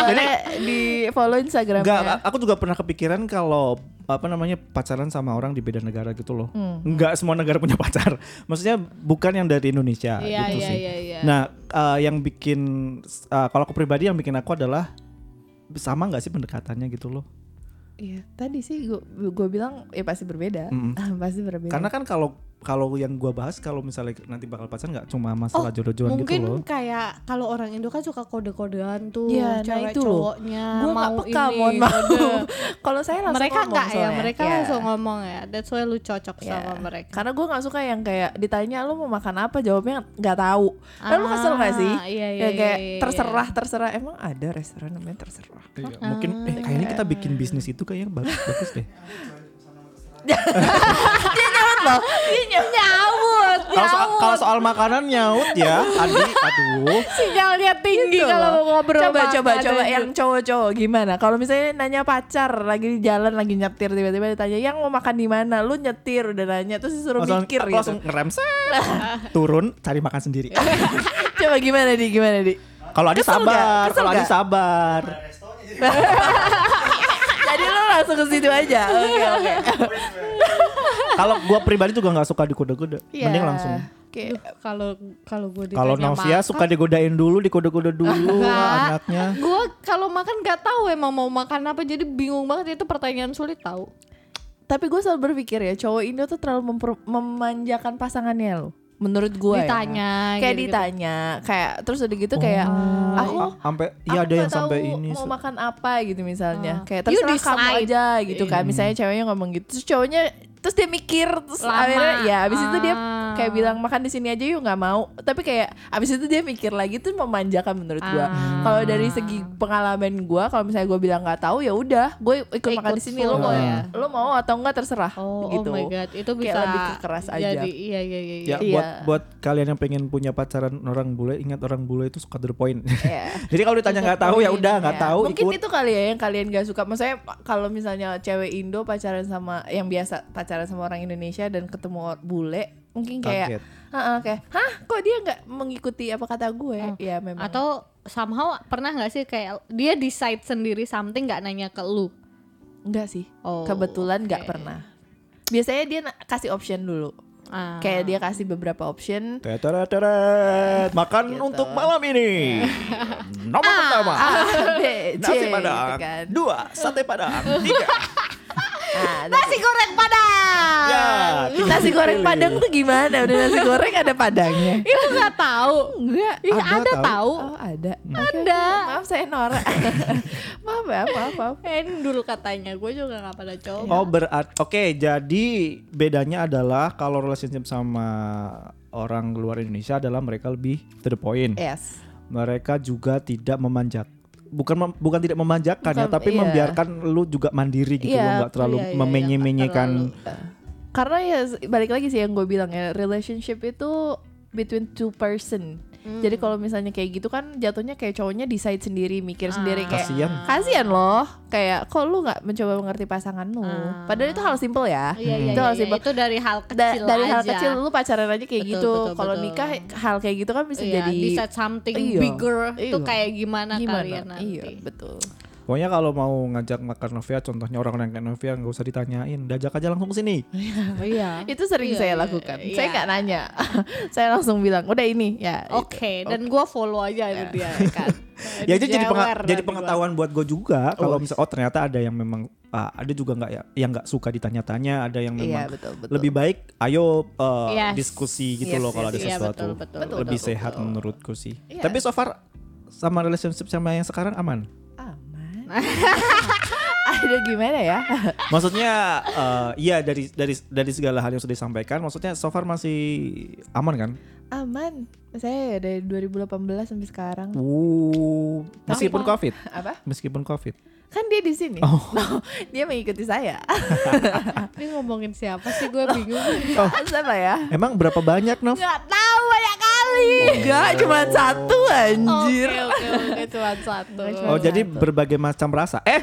[SPEAKER 3] jadi di follow instagramnya
[SPEAKER 1] Enggak, aku juga pernah kepikiran kalau apa namanya pacaran sama orang di beda negara gitu loh.
[SPEAKER 3] Hmm.
[SPEAKER 1] Enggak semua negara punya pacar. Maksudnya bukan yang dari Indonesia
[SPEAKER 2] Iya,
[SPEAKER 1] gitu
[SPEAKER 2] iya,
[SPEAKER 1] sih.
[SPEAKER 2] iya, iya.
[SPEAKER 1] Nah, eh, yang bikin eh, kalau aku pribadi yang bikin aku adalah sama nggak sih pendekatannya gitu loh.
[SPEAKER 3] Iya, tadi sih gua gua bilang ya pasti berbeda.
[SPEAKER 1] Mm-mm.
[SPEAKER 3] Ah, pasti
[SPEAKER 2] Iya.
[SPEAKER 3] berbeda.
[SPEAKER 1] Karena kan kalau kalau yang gua bahas kalau misalnya nanti bakal pacaran nggak cuma masalah
[SPEAKER 2] Oh,
[SPEAKER 1] jodoh-jodohan gitu
[SPEAKER 2] Mungkin
[SPEAKER 1] loh.
[SPEAKER 2] kayak kalau orang Indo kan suka kode-kodean tuh,
[SPEAKER 3] Iya, nah
[SPEAKER 2] cewek
[SPEAKER 3] itu loh.
[SPEAKER 2] cowoknya
[SPEAKER 3] gue nggak
[SPEAKER 2] mau
[SPEAKER 3] peka
[SPEAKER 2] ini,
[SPEAKER 3] mohon maaf.
[SPEAKER 2] kode.
[SPEAKER 3] Kalau saya langsung
[SPEAKER 2] mereka
[SPEAKER 3] ngomong
[SPEAKER 2] nggak ya,
[SPEAKER 3] soalnya.
[SPEAKER 2] mereka
[SPEAKER 3] Iya.
[SPEAKER 2] langsung ngomong ya. That's why lu cocok
[SPEAKER 3] Iya.
[SPEAKER 2] sama mereka.
[SPEAKER 3] Karena gue nggak suka yang kayak ditanya lu mau makan apa jawabnya nggak tahu. Lalu kan lu kesel nggak sih?
[SPEAKER 2] Ah, Iya, iya,
[SPEAKER 3] ya kayak
[SPEAKER 2] iya, iya, iya.
[SPEAKER 3] terserah terserah emang ada restoran namanya terserah.
[SPEAKER 1] Iya, mungkin eh
[SPEAKER 2] Ah,
[SPEAKER 1] kayaknya kita bikin bisnis itu kayaknya bagus bagus deh.
[SPEAKER 2] Dia nyaut, nyaut,
[SPEAKER 1] Kalau soal, kalau soal makanan nyaut ya, Adi, aduh.
[SPEAKER 2] sinyalnya tinggi
[SPEAKER 3] Gitu
[SPEAKER 2] kalau
[SPEAKER 3] loh.
[SPEAKER 2] mau ngobrol
[SPEAKER 3] coba
[SPEAKER 2] sama
[SPEAKER 3] coba
[SPEAKER 2] ada
[SPEAKER 3] coba
[SPEAKER 2] itu.
[SPEAKER 3] yang cowok-cowok gimana? Kalau misalnya nanya pacar lagi di jalan lagi nyetir tiba-tiba ditanya yang mau makan di mana? Lu nyetir udah nanya terus disuruh
[SPEAKER 1] Langsung-
[SPEAKER 3] mikir
[SPEAKER 1] aku
[SPEAKER 3] gitu.
[SPEAKER 1] langsung ngerem set. turun cari makan sendiri "Ah."
[SPEAKER 3] Coba gimana di gimana di?
[SPEAKER 1] kalau Adi
[SPEAKER 3] Kesel nggak?
[SPEAKER 1] sabar
[SPEAKER 3] Kesel
[SPEAKER 1] kalau Adi
[SPEAKER 3] nggak?
[SPEAKER 1] sabar
[SPEAKER 3] Jadi lu langsung ke situ aja. Oke oke.
[SPEAKER 1] kalau gua pribadi juga nggak suka dikode-kode
[SPEAKER 3] Iya.
[SPEAKER 1] mending langsung
[SPEAKER 3] Oke.
[SPEAKER 2] Duh, kalau kalau gue
[SPEAKER 1] kalau Novia suka digodain dulu dikode-kode dulu anaknya
[SPEAKER 2] Gue kalau makan nggak tahu emang mau makan apa jadi bingung banget itu pertanyaan sulit tahu.
[SPEAKER 3] Tapi gue selalu berpikir ya cowok Indo tuh terlalu memper- memanjakan pasangannya loh. Menurut gue
[SPEAKER 2] Ditanya,
[SPEAKER 3] ya. kayak
[SPEAKER 2] gitu-gitu.
[SPEAKER 3] ditanya, kayak terus udah gitu kayak aku
[SPEAKER 1] A- sampai iya
[SPEAKER 3] oh.
[SPEAKER 1] ada
[SPEAKER 3] aku nggak
[SPEAKER 1] yang sampai
[SPEAKER 3] tahu
[SPEAKER 1] ini
[SPEAKER 3] mau
[SPEAKER 1] su-
[SPEAKER 3] makan apa gitu misalnya.
[SPEAKER 2] Ah.
[SPEAKER 3] Kayak
[SPEAKER 2] You
[SPEAKER 3] terserah kamu
[SPEAKER 2] decide.
[SPEAKER 3] aja gitu kan. Misalnya ceweknya ngomong gitu, terus cowoknya terus dia mikir terus
[SPEAKER 2] Lama.
[SPEAKER 3] akhirnya ya abis itu dia
[SPEAKER 2] Ah.
[SPEAKER 3] kayak bilang makan di sini aja yuk nggak mau tapi kayak abis itu dia mikir lagi tuh memanjakan menurut
[SPEAKER 2] Ah.
[SPEAKER 3] gua kalau dari segi pengalaman gua kalau misalnya gua bilang nggak tahu ya udah gue ikut,
[SPEAKER 2] Ikut
[SPEAKER 3] makan di sini
[SPEAKER 2] full iya.
[SPEAKER 3] lo mau
[SPEAKER 1] ya.
[SPEAKER 3] lo mau atau enggak terserah
[SPEAKER 2] Oh,
[SPEAKER 3] gitu
[SPEAKER 2] oh my god, itu
[SPEAKER 3] Kayak
[SPEAKER 2] bisa
[SPEAKER 3] lebih ke keras aja.
[SPEAKER 2] Jadi iya iya iya. iya.
[SPEAKER 1] ya
[SPEAKER 3] Iya.
[SPEAKER 1] buat buat kalian yang pengen punya pacaran orang bule ingat orang bule itu suka to the point
[SPEAKER 3] Iya.
[SPEAKER 1] jadi kalau ditanya nggak tahu ya udah nggak
[SPEAKER 3] Ya,
[SPEAKER 1] tahu
[SPEAKER 3] mungkin
[SPEAKER 1] ikut
[SPEAKER 3] itu kali ya yang kalian gak suka maksudnya kalau misalnya cewek Indo pacaran sama yang biasa pacaran sama orang Indonesia dan ketemu or- bule mungkin
[SPEAKER 1] Kaget.
[SPEAKER 3] kayak "Heeh, kayak hah kok dia nggak mengikuti apa kata gue
[SPEAKER 2] Hmm.
[SPEAKER 3] ya memang
[SPEAKER 2] Atau somehow pernah nggak sih kayak dia decide sendiri something nggak nanya ke lu?
[SPEAKER 3] Enggak sih.
[SPEAKER 2] Oh,
[SPEAKER 3] Kebetulan nggak
[SPEAKER 2] oke.
[SPEAKER 3] pernah. Biasanya dia na- kasih option dulu.
[SPEAKER 2] Ah.
[SPEAKER 3] Kayak dia kasih beberapa option.
[SPEAKER 1] Tetereteret. makan
[SPEAKER 3] Gitu.
[SPEAKER 1] untuk malam ini nomor pertama
[SPEAKER 3] A, B, C,
[SPEAKER 1] nasi
[SPEAKER 3] Ah, gitu
[SPEAKER 1] padang
[SPEAKER 3] kan.
[SPEAKER 1] dua sate padang tiga
[SPEAKER 3] Nah,
[SPEAKER 2] nasi goreng padang.
[SPEAKER 1] ya
[SPEAKER 3] tapi nasi goreng padang tuh gimana? Udah nasi goreng ada padangnya.
[SPEAKER 2] Itu nggak tahu.
[SPEAKER 3] Enggak.
[SPEAKER 2] Ih,
[SPEAKER 1] Ada
[SPEAKER 2] ada,
[SPEAKER 1] tahu.
[SPEAKER 2] tahu.
[SPEAKER 3] Oh, ada.
[SPEAKER 2] Ada.
[SPEAKER 3] Maaf saya Nora. maaf ya, maaf, maaf.
[SPEAKER 2] Endul katanya, gue juga nggak pada coba.
[SPEAKER 1] Oh berarti oke jadi bedanya adalah kalau relationship sama orang luar Indonesia adalah mereka lebih to the point.
[SPEAKER 3] Yes.
[SPEAKER 1] Mereka juga tidak memanjak bukan mem- bukan tidak memanjakan ya
[SPEAKER 3] Bukan,
[SPEAKER 1] tapi
[SPEAKER 3] iya.
[SPEAKER 1] membiarkan lu juga mandiri gitu
[SPEAKER 3] Iya,
[SPEAKER 1] loh nggak terlalu
[SPEAKER 2] iya, iya, iya,
[SPEAKER 1] memenye-menyekan
[SPEAKER 2] nggak
[SPEAKER 3] Karena ya balik lagi sih yang gue bilang ya, relationship itu between two person.
[SPEAKER 2] Hmm.
[SPEAKER 3] Jadi kalau misalnya kayak gitu kan jatuhnya kayak cowoknya decide sendiri, mikir sendiri
[SPEAKER 2] Ah.
[SPEAKER 3] kayak
[SPEAKER 1] Kasian.
[SPEAKER 3] kasihan loh kayak kok lu nggak mencoba mengerti pasangan lu.
[SPEAKER 2] Ah.
[SPEAKER 3] Padahal itu hal simple ya.
[SPEAKER 1] Hmm.
[SPEAKER 2] Iya, iya,
[SPEAKER 3] Itu
[SPEAKER 2] iya,
[SPEAKER 3] hal
[SPEAKER 2] iya.
[SPEAKER 3] simple.
[SPEAKER 2] Itu dari hal kecil
[SPEAKER 3] Da- dari hal
[SPEAKER 2] aja.
[SPEAKER 3] kecil lu pacaran aja kayak
[SPEAKER 2] Betul,
[SPEAKER 3] gitu.
[SPEAKER 2] betul,
[SPEAKER 3] Kalau
[SPEAKER 2] betul.
[SPEAKER 3] nikah hal kayak gitu kan bisa
[SPEAKER 2] Iya,
[SPEAKER 3] jadi
[SPEAKER 2] decide something
[SPEAKER 3] Iya.
[SPEAKER 2] bigger itu
[SPEAKER 3] Iya.
[SPEAKER 2] kayak gimana,
[SPEAKER 3] gimana?
[SPEAKER 2] kalian ya nanti.
[SPEAKER 3] Iya, betul.
[SPEAKER 1] Pokoknya kalau mau ngajak makan Novia, contohnya orang yang kayak Novia nggak usah ditanyain, diajak aja langsung ke sini.
[SPEAKER 2] Oh, iya.
[SPEAKER 3] Itu sering
[SPEAKER 2] Iya,
[SPEAKER 3] saya
[SPEAKER 2] iya,
[SPEAKER 3] lakukan.
[SPEAKER 2] iya.
[SPEAKER 3] Saya nggak nanya. saya langsung bilang, "Udah ini ya." gitu.
[SPEAKER 2] Oke, dan gua follow aja itu dia ya kan.
[SPEAKER 1] Iya. ya itu jadi penga-
[SPEAKER 2] Jewer
[SPEAKER 1] jadi
[SPEAKER 2] nanti
[SPEAKER 1] pengetahuan buat gue juga kalau
[SPEAKER 3] Oh.
[SPEAKER 1] misal oh ternyata ada yang memang ah, ada juga nggak ya yang nggak suka ditanya-tanya ada yang
[SPEAKER 3] Iya,
[SPEAKER 1] memang
[SPEAKER 3] betul, betul.
[SPEAKER 1] lebih baik ayo eh,
[SPEAKER 2] Yes.
[SPEAKER 1] diskusi gitu
[SPEAKER 3] Yes,
[SPEAKER 1] loh kalau ada
[SPEAKER 3] yes,
[SPEAKER 2] yes. Iya,
[SPEAKER 1] sesuatu
[SPEAKER 2] betul, betul, betul,
[SPEAKER 1] lebih
[SPEAKER 2] betul,
[SPEAKER 1] sehat
[SPEAKER 2] betul.
[SPEAKER 1] menurutku sih
[SPEAKER 3] Iya.
[SPEAKER 1] tapi so far sama relationship sama yang sekarang aman
[SPEAKER 3] aman. Aduh gimana ya?
[SPEAKER 1] maksudnya eh, iya dari dari dari segala hal yang sudah disampaikan maksudnya so far masih aman kan
[SPEAKER 3] Aman. Saya dari 2018 sampai sekarang.
[SPEAKER 1] Wuh, meskipun
[SPEAKER 3] Tapi-
[SPEAKER 1] covid
[SPEAKER 3] Apa?
[SPEAKER 1] meskipun covid
[SPEAKER 3] Kan dia di sini.
[SPEAKER 1] Oh.
[SPEAKER 3] Loh, dia mengikuti saya.
[SPEAKER 2] gua- Ini ngomongin siapa sih gue bingung.
[SPEAKER 3] Siapa ya?
[SPEAKER 2] Oh.
[SPEAKER 1] emang berapa banyak Nov
[SPEAKER 2] Gak tahu banyak kali.
[SPEAKER 3] Enggak, cuma satu anjir.
[SPEAKER 2] Oke, oke, oke, cuma satu.
[SPEAKER 3] Oke,
[SPEAKER 1] Oh
[SPEAKER 3] Satu.
[SPEAKER 1] jadi berbagai macam rasa. Eh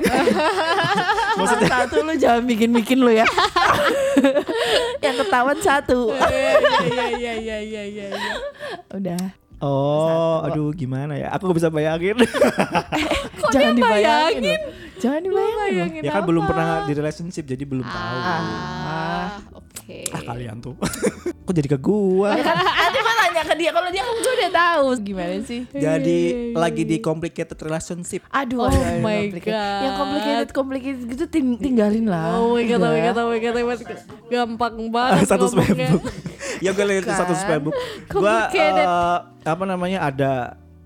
[SPEAKER 3] Cuma satu lu jangan bikin-bikin lu ya. Yang ketahuan satu.
[SPEAKER 2] Iya, iya, iya, iya, iya, iya, iya.
[SPEAKER 3] Udah.
[SPEAKER 1] Oh,
[SPEAKER 3] Satu.
[SPEAKER 1] aduh gimana ya? Aku gak bisa bayangin.
[SPEAKER 2] Kok
[SPEAKER 3] jangan
[SPEAKER 2] dia
[SPEAKER 3] dibayangin.
[SPEAKER 2] bayangin?
[SPEAKER 3] loh. Jangan dibayangin. loh.
[SPEAKER 2] Bayangin
[SPEAKER 1] ya kan
[SPEAKER 2] apa?
[SPEAKER 1] belum pernah di relationship jadi belum tahu.
[SPEAKER 2] Ah, oke.
[SPEAKER 1] Ah, kalian tuh. Kok jadi ke gua?
[SPEAKER 3] Nanti gua tanya ke dia kalau dia kan gue udah tahu gimana sih.
[SPEAKER 1] jadi lagi di complicated relationship.
[SPEAKER 2] Oh
[SPEAKER 3] Aduh, aduh, aduh,
[SPEAKER 2] my
[SPEAKER 3] complicated.
[SPEAKER 2] God.
[SPEAKER 3] Yang complicated complicated gitu ting- tinggalin lah.
[SPEAKER 2] Oh my god, oh my
[SPEAKER 3] Udah.
[SPEAKER 2] god, oh my god, oh my god. Gampang banget
[SPEAKER 1] satu
[SPEAKER 2] ngomongnya.
[SPEAKER 1] Facebook. ya gue lihat satu
[SPEAKER 3] Kan?
[SPEAKER 1] Facebook. Gua
[SPEAKER 2] Complicated.
[SPEAKER 1] eh, apa namanya ada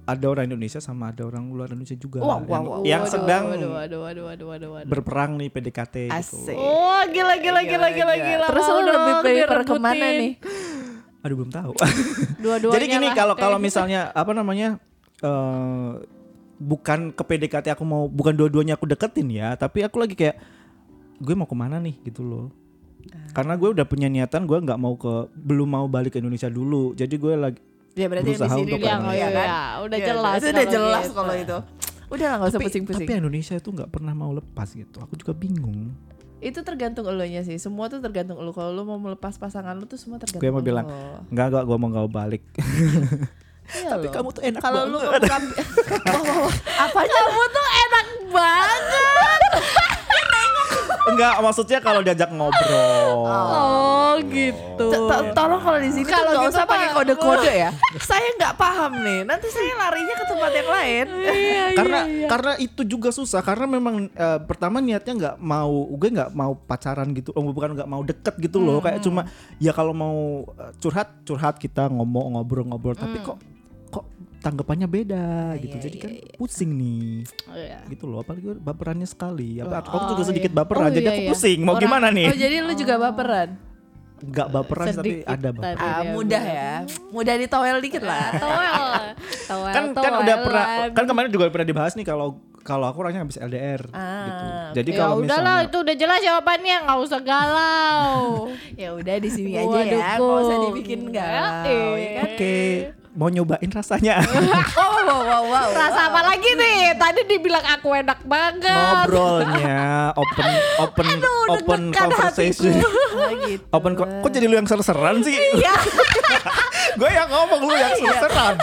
[SPEAKER 1] ada orang Indonesia sama ada orang luar Indonesia juga yang,
[SPEAKER 3] Wow, wow, wow.
[SPEAKER 1] yang
[SPEAKER 2] Waduh,
[SPEAKER 1] sedang
[SPEAKER 2] waduh, waduh, waduh, waduh, waduh, waduh.
[SPEAKER 1] berperang nih PDKT gitu.
[SPEAKER 3] Asik.
[SPEAKER 2] Oh, gila gila gila gila gila.
[SPEAKER 3] Terus
[SPEAKER 2] Mau
[SPEAKER 3] lu lebih
[SPEAKER 2] dong
[SPEAKER 3] prefer
[SPEAKER 2] direbutin.
[SPEAKER 3] kemana nih?
[SPEAKER 1] Aduh belum tahu.
[SPEAKER 2] Dua-duanya
[SPEAKER 1] Jadi gini
[SPEAKER 2] lah,
[SPEAKER 1] kalau
[SPEAKER 2] kayak
[SPEAKER 1] kalau
[SPEAKER 2] gitu.
[SPEAKER 1] misalnya apa namanya eh bukan ke PDKT aku mau bukan dua-duanya aku deketin ya, tapi aku lagi kayak gue mau kemana nih gitu loh. Karena gue udah punya niatan gue nggak mau ke belum mau balik ke Indonesia dulu. Jadi gue lagi
[SPEAKER 3] Ya berarti yang
[SPEAKER 1] Berusaha
[SPEAKER 3] di sini
[SPEAKER 1] untuk
[SPEAKER 3] dia
[SPEAKER 2] Iya,
[SPEAKER 1] Yang
[SPEAKER 2] oh
[SPEAKER 3] nggak,
[SPEAKER 1] berani.
[SPEAKER 2] iya,
[SPEAKER 3] ya kan?
[SPEAKER 2] iya. udah
[SPEAKER 3] Ya,
[SPEAKER 2] jelas.
[SPEAKER 3] Itu udah
[SPEAKER 2] kalau
[SPEAKER 3] jelas
[SPEAKER 2] gitu.
[SPEAKER 3] kalau itu. Udah lah nggak usah pusing-pusing.
[SPEAKER 1] Tapi Indonesia tuh nggak pernah mau lepas gitu. Aku juga bingung.
[SPEAKER 3] Itu tergantung elunya sih. Semua tuh tergantung elu. Kalau lu mau melepas pasangan lu tuh semua tergantung.
[SPEAKER 1] Gue mau bilang
[SPEAKER 3] elu.
[SPEAKER 1] nggak nggak gue mau nggak balik.
[SPEAKER 3] Iya
[SPEAKER 1] Tapi
[SPEAKER 3] loh.
[SPEAKER 1] kamu tuh enak
[SPEAKER 3] kalau lu
[SPEAKER 1] banget.
[SPEAKER 3] kebuka Wah, wah, wah. apanya kamu tuh enak banget.
[SPEAKER 1] Enggak maksudnya kalau diajak ngobrol.
[SPEAKER 2] Oh, gitu.
[SPEAKER 3] To- to- tolong kalau di sini
[SPEAKER 2] Kalau
[SPEAKER 3] kalau nggak
[SPEAKER 2] gitu,
[SPEAKER 3] usah pakai
[SPEAKER 2] Pak.
[SPEAKER 3] kode-kode ya. saya nggak paham nih. Nanti saya larinya ke tempat yang lain.
[SPEAKER 2] Iya, iya,
[SPEAKER 1] karena
[SPEAKER 2] iya.
[SPEAKER 1] karena itu juga susah karena memang eh, pertama niatnya nggak mau gue nggak mau pacaran gitu oh bukan nggak mau deket gitu loh kayak cuma ya kalau mau eh, curhat curhat kita ngomong ngobrol-ngobrol tapi
[SPEAKER 2] Mm.
[SPEAKER 1] kok kok tanggapannya beda gitu jadi kan pusing nih
[SPEAKER 2] Iya.
[SPEAKER 1] gitu loh apalagi gue baperannya sekali apa aku
[SPEAKER 2] Oh,
[SPEAKER 1] juga sedikit
[SPEAKER 2] iya.
[SPEAKER 1] baperan
[SPEAKER 2] Oh,
[SPEAKER 1] jadi
[SPEAKER 2] iya,
[SPEAKER 1] aku
[SPEAKER 2] iya.
[SPEAKER 1] pusing mau
[SPEAKER 2] Orang-
[SPEAKER 1] gimana
[SPEAKER 3] Oh,
[SPEAKER 1] nih
[SPEAKER 3] jadi lu juga baperan.
[SPEAKER 1] nggak baperan sih, tapi
[SPEAKER 2] sedikit,
[SPEAKER 1] ada baperan
[SPEAKER 2] tapi-
[SPEAKER 3] Ah,
[SPEAKER 2] Iya,
[SPEAKER 3] mudah ya. Mudah ditowel dikit lah.
[SPEAKER 2] Toel. Toel.
[SPEAKER 1] kan kan udah pernah
[SPEAKER 2] toelan.
[SPEAKER 1] kan kemarin juga pernah dibahas nih kalau kalau aku orangnya habis LDR gitu jadi
[SPEAKER 2] Ya
[SPEAKER 1] kalau
[SPEAKER 2] udahlah
[SPEAKER 1] misalnya
[SPEAKER 2] itu udah jelas jawabannya nggak usah galau.
[SPEAKER 3] Ya udah di sini aja
[SPEAKER 2] Waduh, Iya,
[SPEAKER 3] ya. Nggak usah
[SPEAKER 2] Gung.
[SPEAKER 3] dibikin galau. ya kan?
[SPEAKER 1] Oke, mau nyobain rasanya.
[SPEAKER 3] Wow, wow, wow, wow.
[SPEAKER 2] Rasa apa lagi nih? Tadi dibilang aku enak banget.
[SPEAKER 1] Ngobrolnya open open open
[SPEAKER 2] deg-degan
[SPEAKER 1] conversation.
[SPEAKER 3] Oh, gitu.
[SPEAKER 1] Open co- kok jadi lu yang serseran sih? Iya. gue yang ngomong lu yang serseran.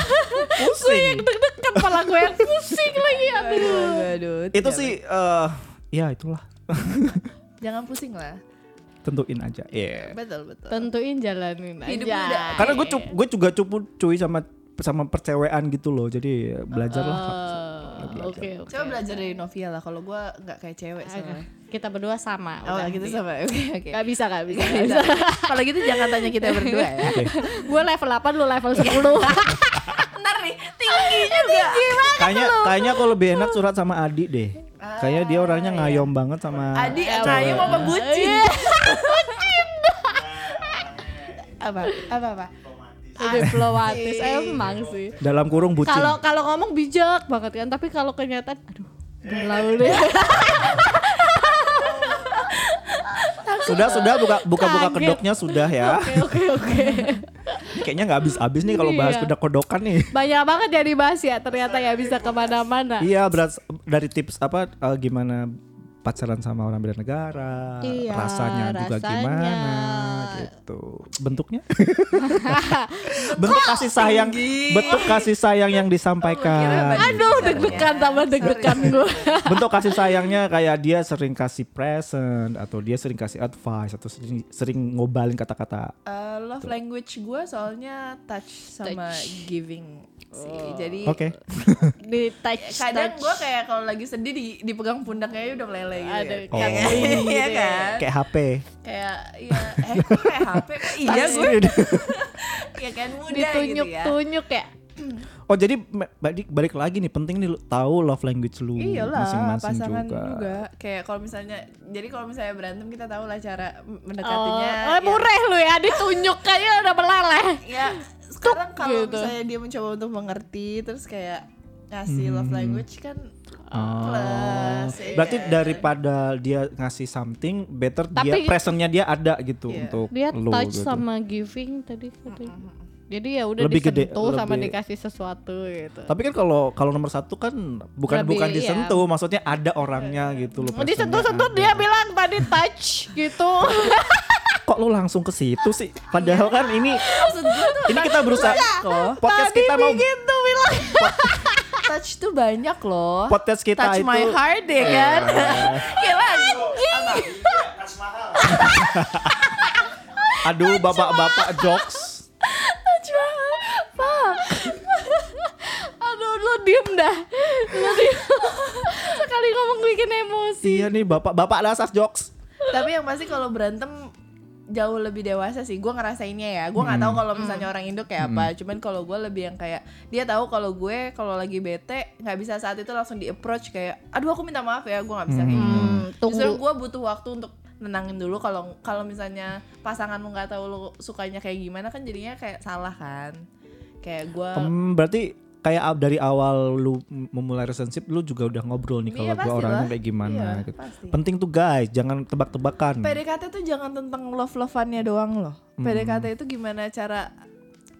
[SPEAKER 1] Pusing.
[SPEAKER 2] Deg-degan kepala gue yang pusing lagi aduh.
[SPEAKER 3] Aduh, aduh,
[SPEAKER 1] Itu
[SPEAKER 3] tidak
[SPEAKER 1] sih eh ya itulah.
[SPEAKER 3] baik. Jangan pusing lah.
[SPEAKER 1] Tentuin aja. Iya.
[SPEAKER 3] Betul, betul.
[SPEAKER 2] Tentuin jalanin aja.
[SPEAKER 3] Hidup muda.
[SPEAKER 1] Karena gue cu- gue juga cupu cuy sama sama percewean gitu loh. Jadi belajarlah.
[SPEAKER 2] Eh, Oke, oke.
[SPEAKER 3] Coba belajar dari Novia lah. Kalau gue nggak kayak cewek soalnya.
[SPEAKER 2] Kita berdua sama.
[SPEAKER 3] Oh,
[SPEAKER 2] udah.
[SPEAKER 3] gitu sama. Oke, oke.
[SPEAKER 2] Gak bisa, gak bisa.
[SPEAKER 3] Nggak bisa. Kalau gitu jangan tanya kita berdua ya.
[SPEAKER 2] gue level 8, lu level 10.
[SPEAKER 3] Benar nih, tinggi juga.
[SPEAKER 1] Kayaknya kayaknya aku lebih enak surat sama Adi deh. Kayaknya dia orangnya ngayom banget sama
[SPEAKER 3] Adi,
[SPEAKER 1] cewek.
[SPEAKER 3] Rayu mau apa bucin?
[SPEAKER 2] Iya.
[SPEAKER 3] apa? Apa apa?
[SPEAKER 2] Diplomatis, Eh, emang sih.
[SPEAKER 1] dalam kurung bucin.
[SPEAKER 2] Kalau kalau ngomong bijak banget kan, tapi kalau kenyataan, aduh, galau deh.
[SPEAKER 1] Sudah sudah buka buka buka
[SPEAKER 2] Kaget.
[SPEAKER 1] kedoknya sudah ya.
[SPEAKER 2] Oke, oke, oke.
[SPEAKER 1] kayaknya nggak habis-habis nih kalau bahas
[SPEAKER 2] Iya.
[SPEAKER 1] pedok-pedokan nih.
[SPEAKER 2] Banyak banget yang dibahas ya ternyata ya bisa kemana-mana.
[SPEAKER 1] Iya, berat dari tips apa eh, gimana pacaran sama orang beda negara,
[SPEAKER 2] Iya,
[SPEAKER 1] rasanya juga
[SPEAKER 2] rasanya.
[SPEAKER 1] gimana gitu. Bentuknya? bentuk kasih sayang, bentuk kasih sayang yang disampaikan.
[SPEAKER 2] Aduh
[SPEAKER 3] ya.
[SPEAKER 2] deg-degan tambah deg-degan gue.
[SPEAKER 1] bentuk kasih sayangnya kayak dia sering kasih present atau dia sering kasih advice atau sering, sering ngobalin kata-kata.
[SPEAKER 3] Eh, love language gue soalnya touch sama giving sih. Jadi
[SPEAKER 1] Oh. Oke.
[SPEAKER 2] Di touch
[SPEAKER 3] kadang
[SPEAKER 2] touch.
[SPEAKER 3] gitu gue kayak kalau lagi sedih di- dipegang pundaknya udah meleleh gitu.
[SPEAKER 2] Ada
[SPEAKER 1] Oh.
[SPEAKER 3] Kayak- Iya kan?
[SPEAKER 1] Kayak HP.
[SPEAKER 3] Kayak iya eh kok kayak HP kok iya gue. Iya kan muda gitu ya.
[SPEAKER 2] ditunjuk-tunjuk ya.
[SPEAKER 1] Oh jadi me- balik balik lagi nih penting nih lu tahu love language lu
[SPEAKER 3] Iyalah,
[SPEAKER 1] Hmm, masing-masing
[SPEAKER 3] pasangan
[SPEAKER 1] juga.
[SPEAKER 3] juga. Kayak kalau misalnya, jadi kalau misalnya berantem kita tahu lah cara
[SPEAKER 2] Oh,
[SPEAKER 3] mendekatinya. Iya.
[SPEAKER 2] oh, mureh lu ya ditunjuk kayaknya udah meleleh.
[SPEAKER 3] ya, ya sekarang kalau
[SPEAKER 2] gitu.
[SPEAKER 3] misalnya dia mencoba untuk mengerti, terus kayak ngasih love language kan
[SPEAKER 1] Hmm. Oh.
[SPEAKER 3] plus. ya
[SPEAKER 1] Berarti
[SPEAKER 3] kan?
[SPEAKER 1] daripada dia ngasih something, better dia
[SPEAKER 2] Tapi-
[SPEAKER 1] presentnya dia ada gitu
[SPEAKER 3] Iya.
[SPEAKER 1] untuk
[SPEAKER 2] Dia
[SPEAKER 1] lu
[SPEAKER 2] touch
[SPEAKER 1] gitu.
[SPEAKER 2] sama giving tadi katanya. Jadi ya udah
[SPEAKER 1] Lebih gede,
[SPEAKER 2] disentuh sama
[SPEAKER 1] lebih-
[SPEAKER 2] dikasih sesuatu gitu.
[SPEAKER 1] Tapi kan kalau kalau nomor satu kan bukan
[SPEAKER 2] Lebih,
[SPEAKER 1] bukan
[SPEAKER 2] iya.
[SPEAKER 1] disentuh, maksudnya ada orangnya gitu loh.
[SPEAKER 2] Mau disentuh-sentuh
[SPEAKER 1] nah,
[SPEAKER 2] dia bilang tadi touch gitu.
[SPEAKER 1] Kok lu langsung ke situ sih? Padahal
[SPEAKER 2] Iya.
[SPEAKER 1] kan ini
[SPEAKER 3] Maksud gue tuh
[SPEAKER 1] ini kita berusaha
[SPEAKER 3] kok.
[SPEAKER 1] Oh, podcast
[SPEAKER 2] tadi
[SPEAKER 1] kita mau
[SPEAKER 2] begitu bilang.
[SPEAKER 3] touch tuh banyak loh.
[SPEAKER 1] podcast kita itu
[SPEAKER 3] touch
[SPEAKER 1] Iya.
[SPEAKER 3] my heart ya kan. Kayak lagu.
[SPEAKER 1] aduh bapak-bapak jokes
[SPEAKER 3] Touch my heart. Fuck.
[SPEAKER 2] Aduh lu diem dah. Lu diem. Sekali ngomong bikin emosi.
[SPEAKER 1] iya nih bapak-bapak dasar jokes
[SPEAKER 3] tapi yang pasti kalau berantem jauh lebih dewasa sih gue ngerasainnya ya gue nggak
[SPEAKER 2] Hmm.
[SPEAKER 3] tahu kalau misalnya orang Indo kayak apa cuman kalau gue lebih yang kayak dia tahu kalau gue kalau lagi bete nggak bisa saat itu langsung di approach kayak aduh aku minta maaf ya gue nggak bisa kayak gitu
[SPEAKER 2] Hmm,
[SPEAKER 3] justru
[SPEAKER 2] tunggu.
[SPEAKER 3] gue butuh waktu untuk nenangin dulu kalau kalau misalnya pasangan lu nggak tahu lu sukanya kayak gimana kan jadinya kayak salah kan kayak gue
[SPEAKER 1] Hmm, berarti kayak ab- dari awal lu m- memulai relationship lu juga udah ngobrol nih kalau
[SPEAKER 3] Iya,
[SPEAKER 1] gua
[SPEAKER 3] pastilah.
[SPEAKER 1] orangnya kayak gimana
[SPEAKER 3] Iya,
[SPEAKER 1] gitu.
[SPEAKER 3] pasti.
[SPEAKER 1] Penting tuh guys, jangan tebak-tebakan.
[SPEAKER 3] PDKT tuh jangan tentang love-lovannya doang loh.
[SPEAKER 1] Hmm.
[SPEAKER 3] PDKT itu gimana cara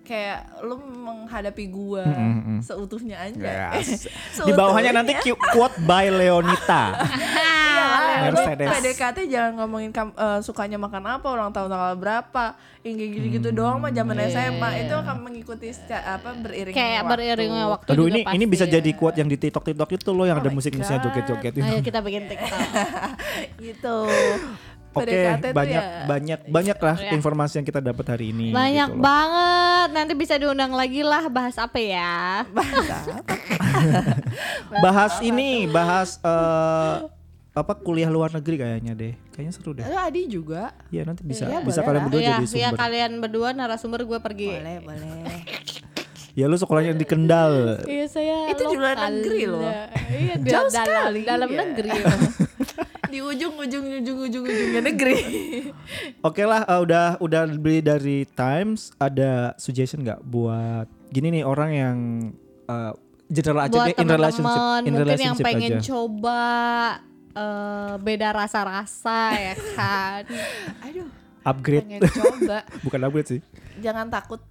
[SPEAKER 3] kayak lu menghadapi gua
[SPEAKER 1] Hmm,
[SPEAKER 3] seutuhnya aja.
[SPEAKER 1] Yes.
[SPEAKER 3] Seutuhnya.
[SPEAKER 1] Ya, Di bawahnya nanti
[SPEAKER 3] iya.
[SPEAKER 1] cu- quote by Leonita.
[SPEAKER 2] Nah,
[SPEAKER 1] iya,
[SPEAKER 3] Iyalah, lu
[SPEAKER 1] Mercedes.
[SPEAKER 3] PDKT jangan ngomongin kam- eh, sukanya makan apa, ulang tahun tanggal berapa, yang kayak gitu-gitu
[SPEAKER 1] Hmm.
[SPEAKER 3] doang mah zaman SMA itu akan mengikuti secara apa beriringan
[SPEAKER 2] Kayak
[SPEAKER 3] waktu.
[SPEAKER 2] beriringnya waktu
[SPEAKER 1] Aduh
[SPEAKER 2] juga
[SPEAKER 1] ini ini
[SPEAKER 2] pasti
[SPEAKER 1] bisa
[SPEAKER 2] ya.
[SPEAKER 1] jadi quote yang di TikTok-TikTok itu loh
[SPEAKER 3] Oh
[SPEAKER 1] yang ada musik-musiknya joget-joget itu.
[SPEAKER 2] Ayo kita bikin TikTok.
[SPEAKER 3] gitu.
[SPEAKER 1] Oke,
[SPEAKER 3] PDKT tuh
[SPEAKER 1] banyak
[SPEAKER 3] ya- Iya.
[SPEAKER 1] banyak banyak lah informasi yang kita dapat hari ini.
[SPEAKER 2] Banyak
[SPEAKER 1] gitu loh.
[SPEAKER 2] banget. Nanti bisa diundang lagi lah bahas apa ya.
[SPEAKER 1] Bahas ini, bahas eh, apa kuliah luar negeri kayaknya deh. Kayaknya seru deh.
[SPEAKER 3] Lu Adi juga.
[SPEAKER 1] Iya nanti bisa
[SPEAKER 3] Eh. Iya,
[SPEAKER 1] bisa
[SPEAKER 3] boleh
[SPEAKER 1] kalian
[SPEAKER 3] lah.
[SPEAKER 1] berdua
[SPEAKER 2] Iya,
[SPEAKER 1] jadi
[SPEAKER 2] iya
[SPEAKER 1] sumber.
[SPEAKER 2] kalian berdua narasumber gue pergi.
[SPEAKER 3] Boleh, boleh.
[SPEAKER 1] Ya lu sekolahnya di Kendal.
[SPEAKER 2] Iya saya
[SPEAKER 3] Itu di luar
[SPEAKER 2] lokal.
[SPEAKER 3] negeri loh.
[SPEAKER 2] Iya di
[SPEAKER 3] Jauh
[SPEAKER 2] dalam,
[SPEAKER 3] sekali,
[SPEAKER 2] dalam
[SPEAKER 3] iya.
[SPEAKER 2] negeri.
[SPEAKER 3] Di ujung ujung ujung ujung ujungnya negeri.
[SPEAKER 1] Oke lah, eh, udah udah beli dari Times. Ada suggestion nggak buat gini nih orang yang eh, general aja
[SPEAKER 2] Buat
[SPEAKER 1] deh, in relationship,
[SPEAKER 2] teman-teman
[SPEAKER 1] in
[SPEAKER 2] mungkin yang
[SPEAKER 1] relationship
[SPEAKER 2] pengen
[SPEAKER 1] aja.
[SPEAKER 2] coba eh, beda rasa-rasa ya kan.
[SPEAKER 3] Aduh,
[SPEAKER 1] Upgrade,
[SPEAKER 3] pengen coba.
[SPEAKER 1] bukan upgrade sih.
[SPEAKER 3] Jangan takut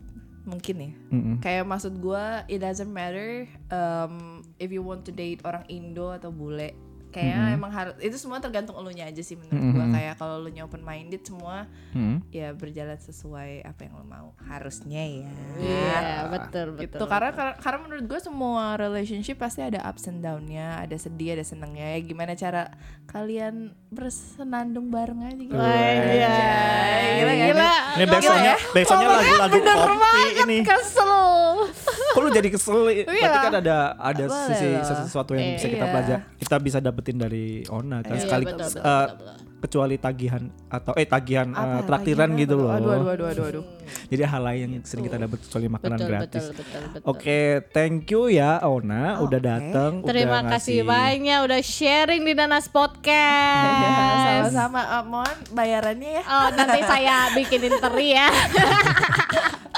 [SPEAKER 3] mungkin ya.
[SPEAKER 1] Mm-mm.
[SPEAKER 3] Kayak maksud gua it doesn't matter um, if you want to date orang Indo atau bule. Kayak emang harus itu semua tergantung elunya aja sih menurut gua. Kayak kalau lu open minded semua
[SPEAKER 1] Mm.
[SPEAKER 3] ya berjalan sesuai apa yang lu mau harusnya ya.
[SPEAKER 2] Iya, betul betul.
[SPEAKER 3] Gitu. Karena kar- karena menurut gue semua relationship pasti ada ups and down-nya, ada sedih, ada senangnya. Ya, gimana cara kalian bersenandung bareng aja gitu. kan?
[SPEAKER 2] Iya.
[SPEAKER 3] Gila, gila.
[SPEAKER 1] Ini backsoundnya, backsoundnya lagu-lagu kopi ini.
[SPEAKER 2] Kesel.
[SPEAKER 1] Kok lu jadi kesel?
[SPEAKER 2] Iya.
[SPEAKER 1] Berarti kan ada ada
[SPEAKER 3] Boleh
[SPEAKER 1] sisi
[SPEAKER 3] lah.
[SPEAKER 1] sesuatu yang bisa kita
[SPEAKER 3] Iya.
[SPEAKER 1] pelajari, kita bisa dapetin dari Ona kan
[SPEAKER 2] Iya,
[SPEAKER 1] sekali
[SPEAKER 2] betul, betul,
[SPEAKER 1] eh,
[SPEAKER 2] betul,
[SPEAKER 1] kecuali tagihan atau eh tagihan eh,
[SPEAKER 3] Apa,
[SPEAKER 1] traktiran
[SPEAKER 3] gimana
[SPEAKER 1] gitu
[SPEAKER 3] tuh?
[SPEAKER 1] loh.
[SPEAKER 3] Aduh, aduh, aduh, aduh, aduh.
[SPEAKER 1] Jadi hal lain yang sering kita dapat kecuali makanan
[SPEAKER 2] Betul
[SPEAKER 1] gratis.
[SPEAKER 2] betul betul betul.
[SPEAKER 1] Oke, thank you ya Ona udah datang,
[SPEAKER 2] Terima
[SPEAKER 1] udah
[SPEAKER 2] kasih
[SPEAKER 1] ngasih-
[SPEAKER 2] banyak udah sharing di Nanas
[SPEAKER 1] Iya,
[SPEAKER 2] Podcast.
[SPEAKER 3] Sama-sama, eh, mohon bayarannya ya.
[SPEAKER 2] Oh, nanti saya bikinin teri ya.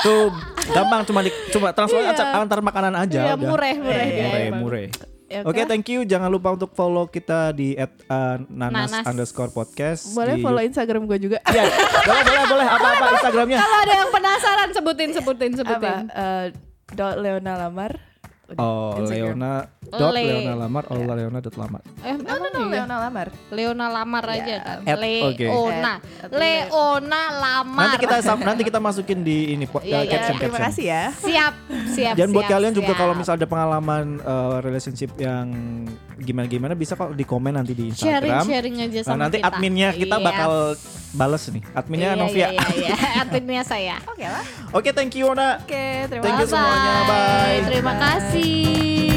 [SPEAKER 1] Tuh gampang cuma di, cuma transfer aja antar makanan aja
[SPEAKER 2] Iya,
[SPEAKER 1] udah.
[SPEAKER 2] mureh, mureh
[SPEAKER 1] Eh,
[SPEAKER 2] dia
[SPEAKER 1] mureh,
[SPEAKER 2] emang.
[SPEAKER 1] mureh.
[SPEAKER 3] Ya,
[SPEAKER 1] Oke, thank you. Jangan lupa untuk follow kita di at, uh, nanas,
[SPEAKER 2] Nanas.
[SPEAKER 1] underscore podcast. di
[SPEAKER 3] boleh follow Instagram gue juga.
[SPEAKER 1] Iya, boleh, boleh, boleh. Apa-apa Instagramnya?
[SPEAKER 2] Kalau ada yang penasaran sebutin sebutin
[SPEAKER 3] Apa?
[SPEAKER 2] sebutin.
[SPEAKER 3] Eh, dot Leona Lamar. Udah,
[SPEAKER 1] Oh,
[SPEAKER 3] Instagram.
[SPEAKER 1] Leona dot
[SPEAKER 2] Le.
[SPEAKER 1] Leona Lamar, oh Leona dot Lamar.
[SPEAKER 2] Eh,
[SPEAKER 3] No, no, no,
[SPEAKER 2] emang iya?
[SPEAKER 3] Leona Lamar.
[SPEAKER 2] Leona Lamar aja kan.
[SPEAKER 1] At, oke.
[SPEAKER 2] Leona.
[SPEAKER 3] At- at
[SPEAKER 2] Leona Lamar.
[SPEAKER 1] Nanti kita sam- nanti kita masukin di ini po- uh,
[SPEAKER 2] Iya, iya,
[SPEAKER 1] caption
[SPEAKER 2] iya.
[SPEAKER 1] caption.
[SPEAKER 3] Terima kasih ya.
[SPEAKER 2] siap siap.
[SPEAKER 1] Dan buat
[SPEAKER 2] siap,
[SPEAKER 1] kalian juga
[SPEAKER 2] siap.
[SPEAKER 1] kalau misal ada pengalaman uh, relationship yang gimana-gimana bisa kok di komen nanti di
[SPEAKER 2] sharing
[SPEAKER 1] Instagram.
[SPEAKER 2] sharing aja
[SPEAKER 1] Nah,
[SPEAKER 2] sama
[SPEAKER 1] nanti
[SPEAKER 2] kita.
[SPEAKER 1] adminnya kita
[SPEAKER 2] Iya.
[SPEAKER 1] bakal bales nih. Adminnya
[SPEAKER 2] Iya,
[SPEAKER 1] Novia.
[SPEAKER 2] Iya, iya, iya. adminnya saya.
[SPEAKER 3] Oke lah.
[SPEAKER 1] Oke, thank you Ona.
[SPEAKER 3] Oke, terima
[SPEAKER 1] Thank you
[SPEAKER 3] kasih.
[SPEAKER 1] semuanya, bye.
[SPEAKER 2] Terima kasih.